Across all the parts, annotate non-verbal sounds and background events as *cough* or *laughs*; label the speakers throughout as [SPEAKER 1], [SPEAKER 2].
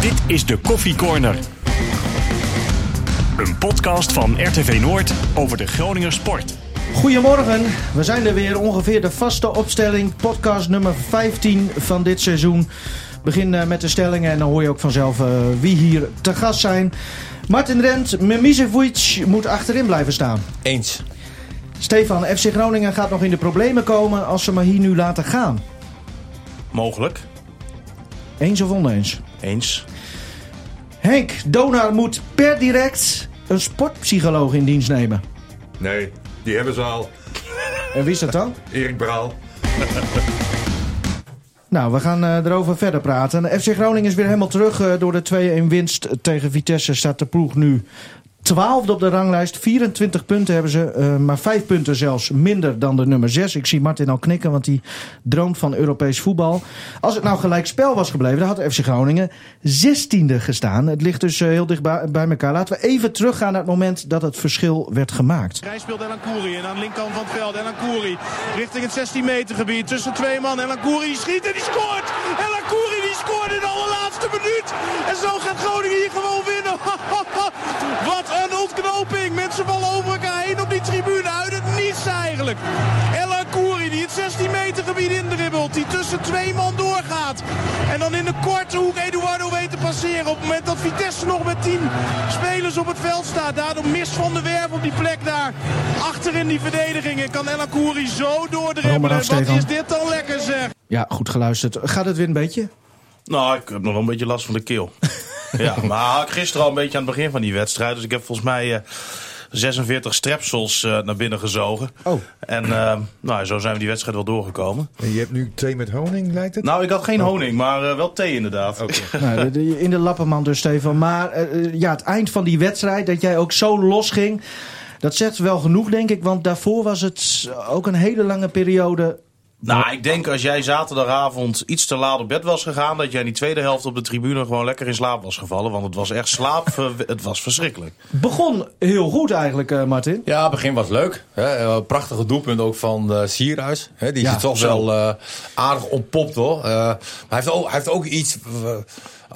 [SPEAKER 1] Dit is de Koffie Corner. Een podcast van RTV Noord over de Groninger sport.
[SPEAKER 2] Goedemorgen, we zijn er weer. Ongeveer de vaste opstelling. Podcast nummer 15 van dit seizoen. Begin eh, met de stellingen en dan hoor je ook vanzelf eh, wie hier te gast zijn. Martin Rent, Memisevic moet achterin blijven staan.
[SPEAKER 3] Eens.
[SPEAKER 2] Stefan, FC Groningen gaat nog in de problemen komen als ze maar hier nu laten gaan.
[SPEAKER 3] Mogelijk.
[SPEAKER 2] Eens of oneens?
[SPEAKER 3] Eens.
[SPEAKER 2] Henk, Donar moet per direct een sportpsycholoog in dienst nemen.
[SPEAKER 4] Nee, die hebben ze al.
[SPEAKER 2] En wie is dat dan?
[SPEAKER 4] Erik Braal.
[SPEAKER 2] Nou, we gaan eh, erover verder praten. FC Groningen is weer helemaal terug eh, door de 2-1 winst tegen Vitesse. Staat de ploeg nu 12 op de ranglijst. 24 punten hebben ze, eh, maar 5 punten zelfs minder dan de nummer 6. Ik zie Martin al knikken, want die droomt van Europees voetbal. Als het nou gelijk spel was gebleven, dan had FC Groningen 16e gestaan. Het ligt dus eh, heel dicht bij bij elkaar. Laten we even teruggaan naar het moment dat het verschil werd gemaakt.
[SPEAKER 5] Hij speelt Elan Koeri en aan de linkerkant van het veld. Elan Koeri richting het 16 meter gebied tussen twee man. Elan Koeri die schiet en die scoort. Elan Koeri die scoort in de allerlaatste minuut. En zo gaat Groningen hier gewoon winnen. *laughs* Wat een ontknoping. Mensen vallen over elkaar heen op die tribune. Uit het niets eigenlijk. Elan Koeri die het 16 meter gebied indribbelt. Die tussen twee man doorgaat. En dan in de korte hoek Eduardo weet te passeren. Op het moment dat Vitesse nog met 10 spelers op het veld staat. Daardoor mist Van der Werf op die plek daar. Achter in die verdediging. En kan El Akouri zo
[SPEAKER 2] Hou maar
[SPEAKER 5] doordribbelen.
[SPEAKER 2] af,
[SPEAKER 5] Wat
[SPEAKER 2] Stefan.
[SPEAKER 5] is dit dan lekker zeg.
[SPEAKER 2] Ja, goed geluisterd. Gaat het weer een beetje?
[SPEAKER 3] Nou, ik heb nog wel een beetje last van de keel. ja, maar had ik gisteren al een beetje aan het begin van die wedstrijd. Dus ik heb volgens mij eh, 46 strepsels eh, naar binnen gezogen.
[SPEAKER 2] Oh.
[SPEAKER 3] En eh, nou, zo zijn we die wedstrijd wel doorgekomen.
[SPEAKER 6] En je hebt nu thee met honing, lijkt het?
[SPEAKER 3] Nou, ik had geen honing, maar eh, wel thee inderdaad.
[SPEAKER 2] Nou, de- de- in de lappenmand dus, Stefan. Maar eh, eh, ja, het eind van die wedstrijd, dat jij ook zo los ging. Dat zegt wel genoeg, denk ik. Want daarvoor was het ook een hele lange periode.
[SPEAKER 3] *laughs* Nou, ik denk als jij zaterdagavond iets te laat op bed was gegaan... dat jij in die tweede helft op de tribune gewoon lekker in slaap was gevallen. Want het was echt slaap... het was verschrikkelijk.
[SPEAKER 2] Begon heel goed eigenlijk, eh, Martin.
[SPEAKER 7] Ja, het begin was leuk. Hè. Eh, Prachtige doelpunt ook van eh Sierhuis. Hè. Die
[SPEAKER 2] Ja,
[SPEAKER 7] is er toch
[SPEAKER 2] zo.
[SPEAKER 7] wel eh, aardig ontpopt hoor. Eh, maar hij heeft, ook, hij heeft ook iets. eh,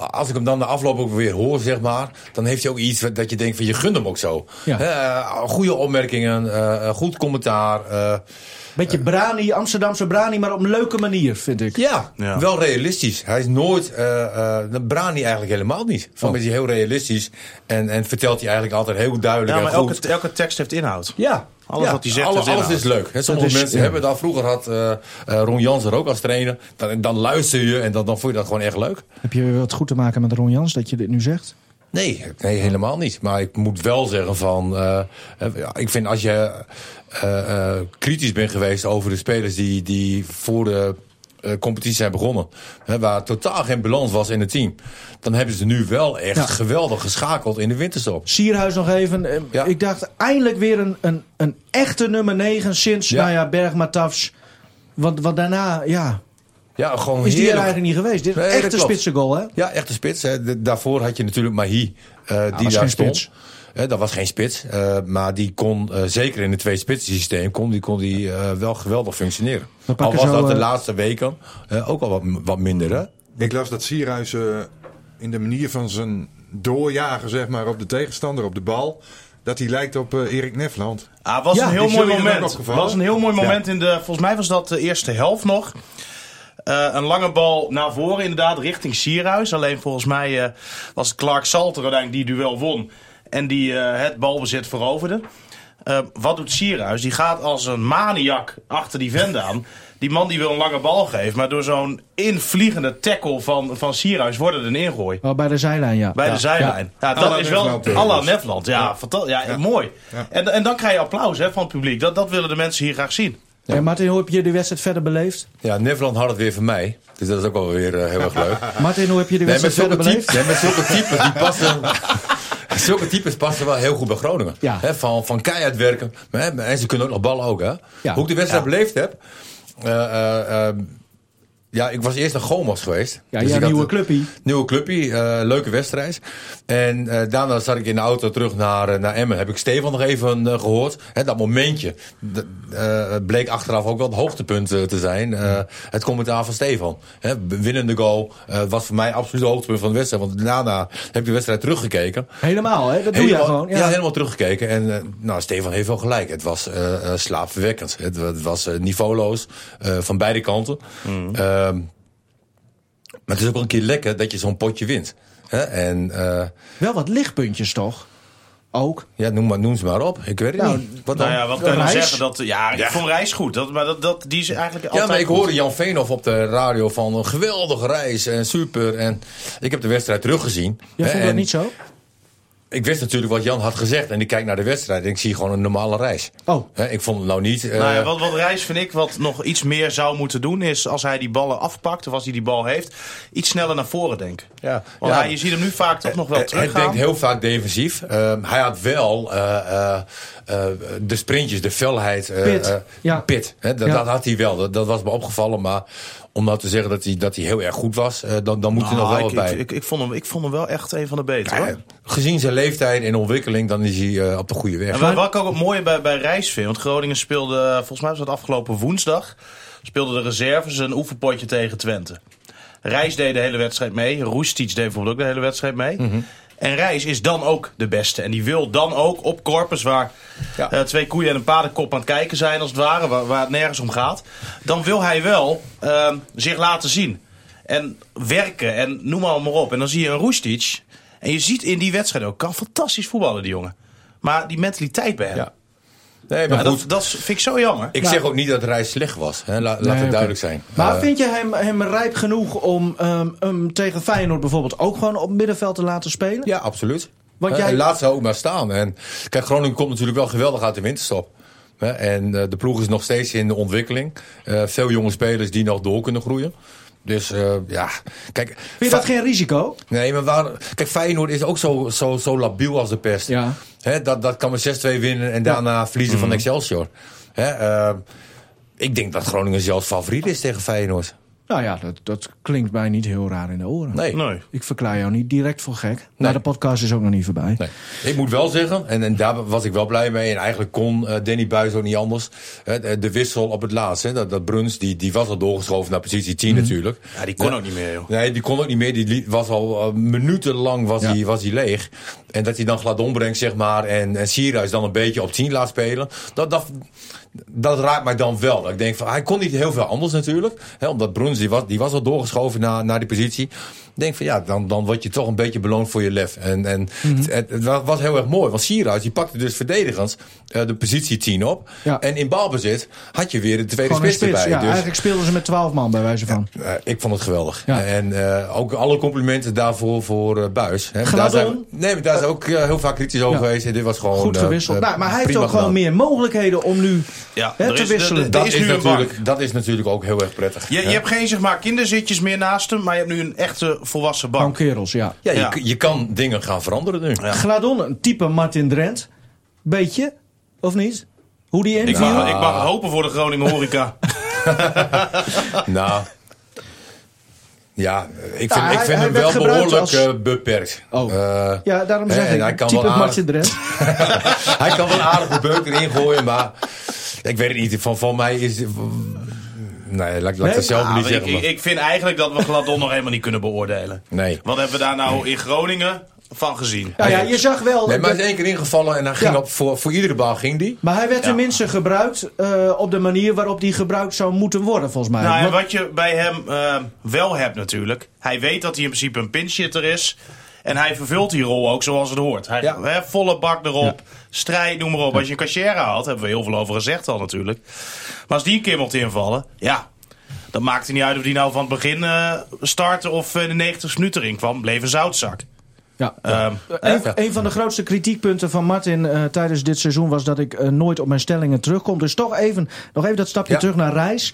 [SPEAKER 7] als ik hem dan de afloop ook weer hoor, zeg maar. Dan heeft hij ook iets wat- dat je denkt van je gunt hem ook zo.
[SPEAKER 2] Ja.
[SPEAKER 7] Eh, goede opmerkingen, eh, goed commentaar. eh,
[SPEAKER 2] Beetje brani, Amsterdamse brani, maar op een leuke manier, vind ik.
[SPEAKER 7] ja,
[SPEAKER 3] Ja.
[SPEAKER 7] wel realistisch. Hij is nooit, eh eh Brani eigenlijk helemaal niet. Van
[SPEAKER 2] Oh.
[SPEAKER 7] is hij heel realistisch en, en vertelt hij eigenlijk altijd heel duidelijk
[SPEAKER 3] Ja, maar
[SPEAKER 7] en goed.
[SPEAKER 3] elke, elke tekst heeft inhoud.
[SPEAKER 7] Ja.
[SPEAKER 3] Alles
[SPEAKER 7] Ja,
[SPEAKER 3] wat hij zegt
[SPEAKER 7] alle-
[SPEAKER 3] heeft
[SPEAKER 7] alles
[SPEAKER 3] inhoud.
[SPEAKER 7] is leuk. Hè, sommige
[SPEAKER 2] is-
[SPEAKER 7] mensen
[SPEAKER 2] ja.
[SPEAKER 7] hebben dat. Vroeger had eh, eh, Ron Jans er ook als trainer. Dan, dan luister je en dan, dan vond je dat gewoon echt leuk.
[SPEAKER 2] Heb je weer wat goed te maken met Ron Jans dat je dit nu zegt?
[SPEAKER 7] Nee, nee, helemaal niet. Maar ik moet wel zeggen van... eh, eh, ja, ik vind als je eh, eh, kritisch bent geweest over de spelers die, die voor de eh, competitie zijn begonnen... Hè, waar totaal geen balans was in het team... dan hebben ze nu wel echt
[SPEAKER 2] Ja.
[SPEAKER 7] geweldig geschakeld in de winterstop.
[SPEAKER 2] Sierhuis nog even. Eh,
[SPEAKER 7] Ja.
[SPEAKER 2] Ik dacht eindelijk weer een, een, een echte nummer 9 sinds
[SPEAKER 7] Ja.
[SPEAKER 2] nou ja, Bergma Tafs. Want, want daarna ja,
[SPEAKER 7] Ja, gewoon
[SPEAKER 2] is die er
[SPEAKER 7] heerlijk.
[SPEAKER 2] eigenlijk niet geweest. Dit is
[SPEAKER 7] Nee,
[SPEAKER 2] echt
[SPEAKER 7] dat
[SPEAKER 2] een
[SPEAKER 7] klopt.
[SPEAKER 2] spitse goal, hè?
[SPEAKER 7] Ja, echte spits. Hè. De- daarvoor had je natuurlijk Mahi, eh, die
[SPEAKER 2] Ah, was
[SPEAKER 7] daar
[SPEAKER 2] geen
[SPEAKER 7] stond.
[SPEAKER 2] spits.
[SPEAKER 7] Hè, dat was geen spits. eh, maar die kon, eh, zeker in het twee-spitsen-systeem, kon die, kon die eh, wel geweldig functioneren.
[SPEAKER 2] We
[SPEAKER 7] Al
[SPEAKER 2] pakken
[SPEAKER 7] was
[SPEAKER 2] zo,
[SPEAKER 7] dat de
[SPEAKER 2] eh,
[SPEAKER 7] laatste weken eh, ook al wat, wat minder, hè?
[SPEAKER 6] Ik las dat Sierhuis eh, in de manier van zijn doorjagen zeg maar, op de tegenstander, op de bal... dat hij lijkt op eh, Erik Nefland.
[SPEAKER 3] Ah, was,
[SPEAKER 2] Ja,
[SPEAKER 3] een heel
[SPEAKER 6] die
[SPEAKER 3] mooi
[SPEAKER 6] zullen je dan
[SPEAKER 3] moment.
[SPEAKER 6] opgevallen.
[SPEAKER 3] was een heel mooi moment in de. Volgens mij was dat de eerste helft nog. Eh, een lange bal naar voren, inderdaad, richting Sierhuis. Alleen volgens mij eh, was het Clark Salter uiteindelijk die duel won. En die eh, het balbezit veroverde. Eh, wat doet Sierhuis? Die gaat als een maniak achter die vende aan. Die man die wil een lange bal geven. Maar door zo'n invliegende tackle van, van Sierhuis wordt het een ingooi.
[SPEAKER 2] Oh, bij de zijlijn, ja.
[SPEAKER 3] Bij
[SPEAKER 2] Ja.
[SPEAKER 3] de zijlijn. Ja, dat
[SPEAKER 6] Alla
[SPEAKER 3] is wel
[SPEAKER 6] Nederland, eh,
[SPEAKER 3] alla
[SPEAKER 6] dus.
[SPEAKER 3] Nederland. Ja, fanta- ja, mooi. En, en dan krijg je applaus hè, van het publiek. Dat, dat willen de mensen hier graag zien.
[SPEAKER 2] Ja. En Martin, hoe heb je de wedstrijd verder beleefd?
[SPEAKER 7] Ja, Nefland had het weer van mij. Dus dat is ook wel weer eh, heel erg
[SPEAKER 2] *laughs*
[SPEAKER 7] leuk.
[SPEAKER 2] Martin, hoe heb je de
[SPEAKER 7] Nee, met
[SPEAKER 2] wedstrijd verder
[SPEAKER 7] zulke,
[SPEAKER 2] beleefd?
[SPEAKER 7] type, nee, met zulke types die passen. *laughs* zulke types passen wel heel goed bij Groningen.
[SPEAKER 2] Ja.
[SPEAKER 7] Hè, van, van keihard werken. Maar, hè, en ze kunnen ook nog ballen ook. Hè.
[SPEAKER 2] Ja.
[SPEAKER 7] Hoe ik de wedstrijd beleefd heb. eh, eh, eh, Ja, ik was eerst naar Gomas geweest.
[SPEAKER 2] Ja,
[SPEAKER 7] Dus
[SPEAKER 2] ja
[SPEAKER 7] ik had-
[SPEAKER 2] nieuwe clubpie.
[SPEAKER 7] Nieuwe clubje, eh, leuke wedstrijd. En eh, daarna zat ik in de auto terug naar, eh, naar Emmen. Heb ik Stefan nog even eh, gehoord. Hè, dat momentje dat, eh, bleek achteraf ook wel het hoogtepunt eh, te zijn. Eh, het commentaar van Stefan. Hè, winnende goal eh, was voor mij absoluut het hoogtepunt van de wedstrijd. Want daarna heb ik de wedstrijd teruggekeken.
[SPEAKER 2] Helemaal, hè? Dat doe je gewoon.
[SPEAKER 7] Ja.
[SPEAKER 2] Ja.
[SPEAKER 7] helemaal teruggekeken. En eh, nou, Stefan heeft wel gelijk. Het was eh, eh, slaapverwekkend. Het, wa- het was eh, niveauloos eh, van beide kanten.
[SPEAKER 2] Mm.
[SPEAKER 7] Ehm, maar het is ook wel een keer lekker dat je zo'n potje wint. Hè? En eh,
[SPEAKER 2] Wel wat lichtpuntjes toch? Ook.
[SPEAKER 7] ja, noem, maar, noem ze maar op. Ik weet het
[SPEAKER 2] Nou,
[SPEAKER 7] niet. Wat dan?
[SPEAKER 3] Nou ja, wat kan je dan
[SPEAKER 2] Reis?
[SPEAKER 3] zeggen? Dat, ja, ik vond Reis goed. Dat, maar dat, dat, die is eigenlijk altijd
[SPEAKER 7] Ja, maar ik
[SPEAKER 3] goed.
[SPEAKER 7] hoorde Jan Veenhoff op de radio van een geweldige reis en super. En ik heb de wedstrijd teruggezien.
[SPEAKER 2] Jij
[SPEAKER 7] Hè,
[SPEAKER 2] vond dat
[SPEAKER 7] en
[SPEAKER 2] niet zo?
[SPEAKER 7] Ik wist natuurlijk wat Jan had gezegd. En ik kijk naar de wedstrijd en ik zie gewoon een normale reis.
[SPEAKER 2] Oh.
[SPEAKER 7] Hè, ik vond het nou niet... eh,
[SPEAKER 3] Nou ja, wat, wat Reis vind ik wat nog iets meer zou moeten doen is als hij die ballen afpakt of als hij die bal heeft, iets sneller naar voren denken.
[SPEAKER 7] Ja.
[SPEAKER 3] Want
[SPEAKER 7] Ja. Eh,
[SPEAKER 3] hij- je ziet hem nu vaak toch nog wel
[SPEAKER 7] Hij- Hij
[SPEAKER 3] teruggaan.
[SPEAKER 7] denkt heel vaak defensief. Ehm, hij had wel eh, eh, eh, de sprintjes, de felheid. eh,
[SPEAKER 2] Pit.
[SPEAKER 7] eh,
[SPEAKER 2] Ja.
[SPEAKER 7] pit. Hè, dat,
[SPEAKER 2] Ja.
[SPEAKER 7] dat had hij wel. Dat, dat was me opgevallen. Maar om nou te zeggen dat hij, dat hij heel erg goed was, eh, dan, dan moet hij nog
[SPEAKER 3] Ah,
[SPEAKER 7] wel
[SPEAKER 3] ik,
[SPEAKER 7] wat bij.
[SPEAKER 3] ik, ik, ik vond hem, ik vond hem wel echt een van de betere.
[SPEAKER 7] Ja,
[SPEAKER 3] hoor.
[SPEAKER 7] gezien zijn leeftijd en ontwikkeling, dan is hij eh, op de goede weg.
[SPEAKER 3] En wat, wat ik ook het mooie bij, bij Reis vind, want Groningen speelde, eh, volgens mij was dat afgelopen woensdag, speelde de reserves een oefenpotje tegen Twente. Reis deed de hele wedstrijd mee, Roestic deed bijvoorbeeld ook de hele wedstrijd mee. En Reis is dan ook de beste. En die wil dan ook op Corpus, waar
[SPEAKER 7] Ja.
[SPEAKER 3] eh, twee koeien en een paardenkop aan het kijken zijn als het ware, waar, waar het nergens om gaat. Dan wil hij wel ehm, zich laten zien. En werken en noem maar, maar op. En dan zie je een Roestic. En je ziet in die wedstrijd ook, kan fantastisch voetballen die jongen. Maar die mentaliteit bij hem.
[SPEAKER 7] Ja. Nee, maar
[SPEAKER 3] Ja,
[SPEAKER 7] goed.
[SPEAKER 3] dat, dat is- vind ik zo jammer.
[SPEAKER 7] ik
[SPEAKER 2] Nou.
[SPEAKER 7] zeg ook niet dat Reis slecht was. Hè. La- laat
[SPEAKER 2] Nee,
[SPEAKER 7] het
[SPEAKER 2] oké.
[SPEAKER 7] duidelijk zijn.
[SPEAKER 2] Maar
[SPEAKER 7] Eh,
[SPEAKER 2] vind je hem, hem rijp genoeg om ehm, hem tegen Feyenoord bijvoorbeeld ook gewoon op middenveld te laten spelen?
[SPEAKER 7] Ja, absoluut.
[SPEAKER 2] Want
[SPEAKER 7] Eh,
[SPEAKER 2] jij-
[SPEAKER 7] En laat ze ook maar staan. En kijk, Groningen komt natuurlijk wel geweldig uit de winterstop. Hè, En eh, de ploeg is nog steeds in de ontwikkeling. Eh, veel jonge spelers die nog door kunnen groeien. Dus eh, ja, kijk.
[SPEAKER 2] Vind je dat geen risico?
[SPEAKER 7] Nee, maar waar, kijk, Feyenoord is ook zo, zo, zo labiel als de pest.
[SPEAKER 2] Ja. Mhm.
[SPEAKER 7] Hè, dat, dat kan met 6-2 winnen en daarna verliezen van Excelsior. Hè, eh, ik denk dat Groningen zelfs favoriet is tegen Feyenoord.
[SPEAKER 2] Nou ja, dat, dat klinkt mij niet heel raar in de oren.
[SPEAKER 7] Nee.
[SPEAKER 3] Nee.
[SPEAKER 2] Ik verklaar jou niet direct voor gek. Maar
[SPEAKER 7] Nee.
[SPEAKER 2] de podcast is ook nog niet voorbij.
[SPEAKER 7] Nee. Ik moet wel zeggen, en, en daar was ik wel blij mee. En eigenlijk kon eh, Danny Buis ook niet anders. Hè, de- de wissel op het laatst. Hè, dat, dat Bruns, die, die was al doorgeschoven naar positie 10 natuurlijk.
[SPEAKER 3] Ja, die kon ook niet meer, joh.
[SPEAKER 2] Oh.
[SPEAKER 7] Nee, die kon ook niet meer. Die li- was al eh, minutenlang was hij was hij leeg. En dat hij dan Gladon brengt, zeg maar. En, en Sierhuis dan een beetje op 10 laat spelen. Dat, dat, dat raakt mij dan wel. Dat Ik denk van, hij kon niet heel veel anders natuurlijk. Hè, omdat Bruns, die was, die was al doorgeschoven naar, naar die positie. Ik denk van, ja, dan, dan word je toch een beetje beloond voor je lef. En, en
[SPEAKER 2] Mhm.
[SPEAKER 7] het, het- het wa- was heel erg mooi. Want Sierhuis, die pakte dus verdedigend eh, de positie 10 op.
[SPEAKER 2] Ja.
[SPEAKER 7] En in balbezit had je weer de tweede
[SPEAKER 2] Gewoon een
[SPEAKER 7] spits,
[SPEAKER 2] spits.
[SPEAKER 7] erbij.
[SPEAKER 2] Ja,
[SPEAKER 7] dus,
[SPEAKER 2] Eigenlijk speelden ze met 12 man bij wijze van.
[SPEAKER 7] eh, ik vond het geweldig.
[SPEAKER 2] Ja.
[SPEAKER 7] En eh, ook alle complimenten daarvoor voor eh, Buis. Hè.
[SPEAKER 2] Gladon.
[SPEAKER 7] Daar zijn we, nee, maar daar is ook eh, heel vaak kritisch over
[SPEAKER 2] Ja.
[SPEAKER 7] geweest. En dit was gewoon.
[SPEAKER 2] Goed
[SPEAKER 7] eh,
[SPEAKER 2] gewisseld.
[SPEAKER 7] eh,
[SPEAKER 2] nou, maar hij heeft ook
[SPEAKER 7] prima
[SPEAKER 2] gewoon
[SPEAKER 7] gedaan.
[SPEAKER 2] meer mogelijkheden om nu
[SPEAKER 3] Ja,
[SPEAKER 2] hè,
[SPEAKER 3] er
[SPEAKER 2] te
[SPEAKER 3] is-
[SPEAKER 2] wisselen.
[SPEAKER 3] er-
[SPEAKER 7] Dat
[SPEAKER 3] Er
[SPEAKER 7] is,
[SPEAKER 3] is nu een
[SPEAKER 7] natuurlijk, dat is natuurlijk ook heel erg prettig.
[SPEAKER 3] Je,
[SPEAKER 7] hè.
[SPEAKER 3] je hebt geen zeg maar, kinderzitjes meer naast hem, maar je hebt nu een echte volwassen
[SPEAKER 2] Van
[SPEAKER 3] bank.
[SPEAKER 2] kerels, ja.
[SPEAKER 7] ja, je,
[SPEAKER 3] ja.
[SPEAKER 7] k- je kan dingen gaan veranderen nu.
[SPEAKER 2] Gladon, een type Martin Drent. Beetje, of niet? Hoe die
[SPEAKER 3] Ik
[SPEAKER 2] inviel.
[SPEAKER 3] mag, ik mag hopen voor de
[SPEAKER 7] *laughs*
[SPEAKER 3] Groningen Horeca.
[SPEAKER 7] *laughs* Nou. Ja, ik vind,
[SPEAKER 2] hij-
[SPEAKER 7] ik vind
[SPEAKER 2] hij
[SPEAKER 7] hem
[SPEAKER 2] werd
[SPEAKER 7] wel
[SPEAKER 2] gebruikt
[SPEAKER 7] behoorlijk
[SPEAKER 2] als-
[SPEAKER 7] eh, beperkt.
[SPEAKER 2] Oh.
[SPEAKER 7] Eh,
[SPEAKER 2] Ja, daarom zeg
[SPEAKER 7] en
[SPEAKER 2] ik.
[SPEAKER 7] Hij kan,
[SPEAKER 2] type dus.
[SPEAKER 7] wel aardig,
[SPEAKER 2] Martin
[SPEAKER 7] *laughs*
[SPEAKER 2] Drent.
[SPEAKER 7] hij kan wel aardig de beuk erin gooien, maar ik weet het niet. Van, van mij is. Nee, laat, laat ik
[SPEAKER 2] Nee?
[SPEAKER 7] dat zelf
[SPEAKER 3] Ah,
[SPEAKER 7] niet
[SPEAKER 3] maar ik,
[SPEAKER 7] zeggen.
[SPEAKER 3] ik,
[SPEAKER 7] maar-
[SPEAKER 3] ik vind eigenlijk dat we Gladon nog helemaal niet kunnen beoordelen.
[SPEAKER 7] Nee.
[SPEAKER 3] Wat hebben we daar nou in Groningen van gezien?
[SPEAKER 2] Nou ja, je zag wel.
[SPEAKER 7] Nee, maar hij
[SPEAKER 2] dat-
[SPEAKER 7] is één keer ingevallen en dan ging
[SPEAKER 2] Ja.
[SPEAKER 7] op, voor, voor iedere bal ging die.
[SPEAKER 2] Maar hij werd tenminste gebruikt eh, op de manier waarop die gebruikt zou moeten worden, volgens mij.
[SPEAKER 3] Nou, en
[SPEAKER 2] Want-
[SPEAKER 3] wat je bij hem eh, wel hebt natuurlijk. Hij weet dat hij in principe een pinchitter is. En hij vervult die rol ook zoals het hoort. Hij,
[SPEAKER 7] Ja.
[SPEAKER 3] hè, volle bak erop. Strijd, noem maar op. Als je een cashier haalt, hebben we heel veel over gezegd al natuurlijk. Maar als die een keer mocht invallen, ja. Dan maakt het niet uit of die nou van het begin eh startte of in de 90 minuten erin kwam. Bleef een zoutzak.
[SPEAKER 2] ja.
[SPEAKER 3] Ehm,
[SPEAKER 2] Een, eh, een van de grootste kritiekpunten van Martin eh, tijdens dit seizoen was dat ik eh, nooit op mijn stellingen terugkom. Dus toch even, nog even dat stapje
[SPEAKER 7] Ja.
[SPEAKER 2] terug naar Reis.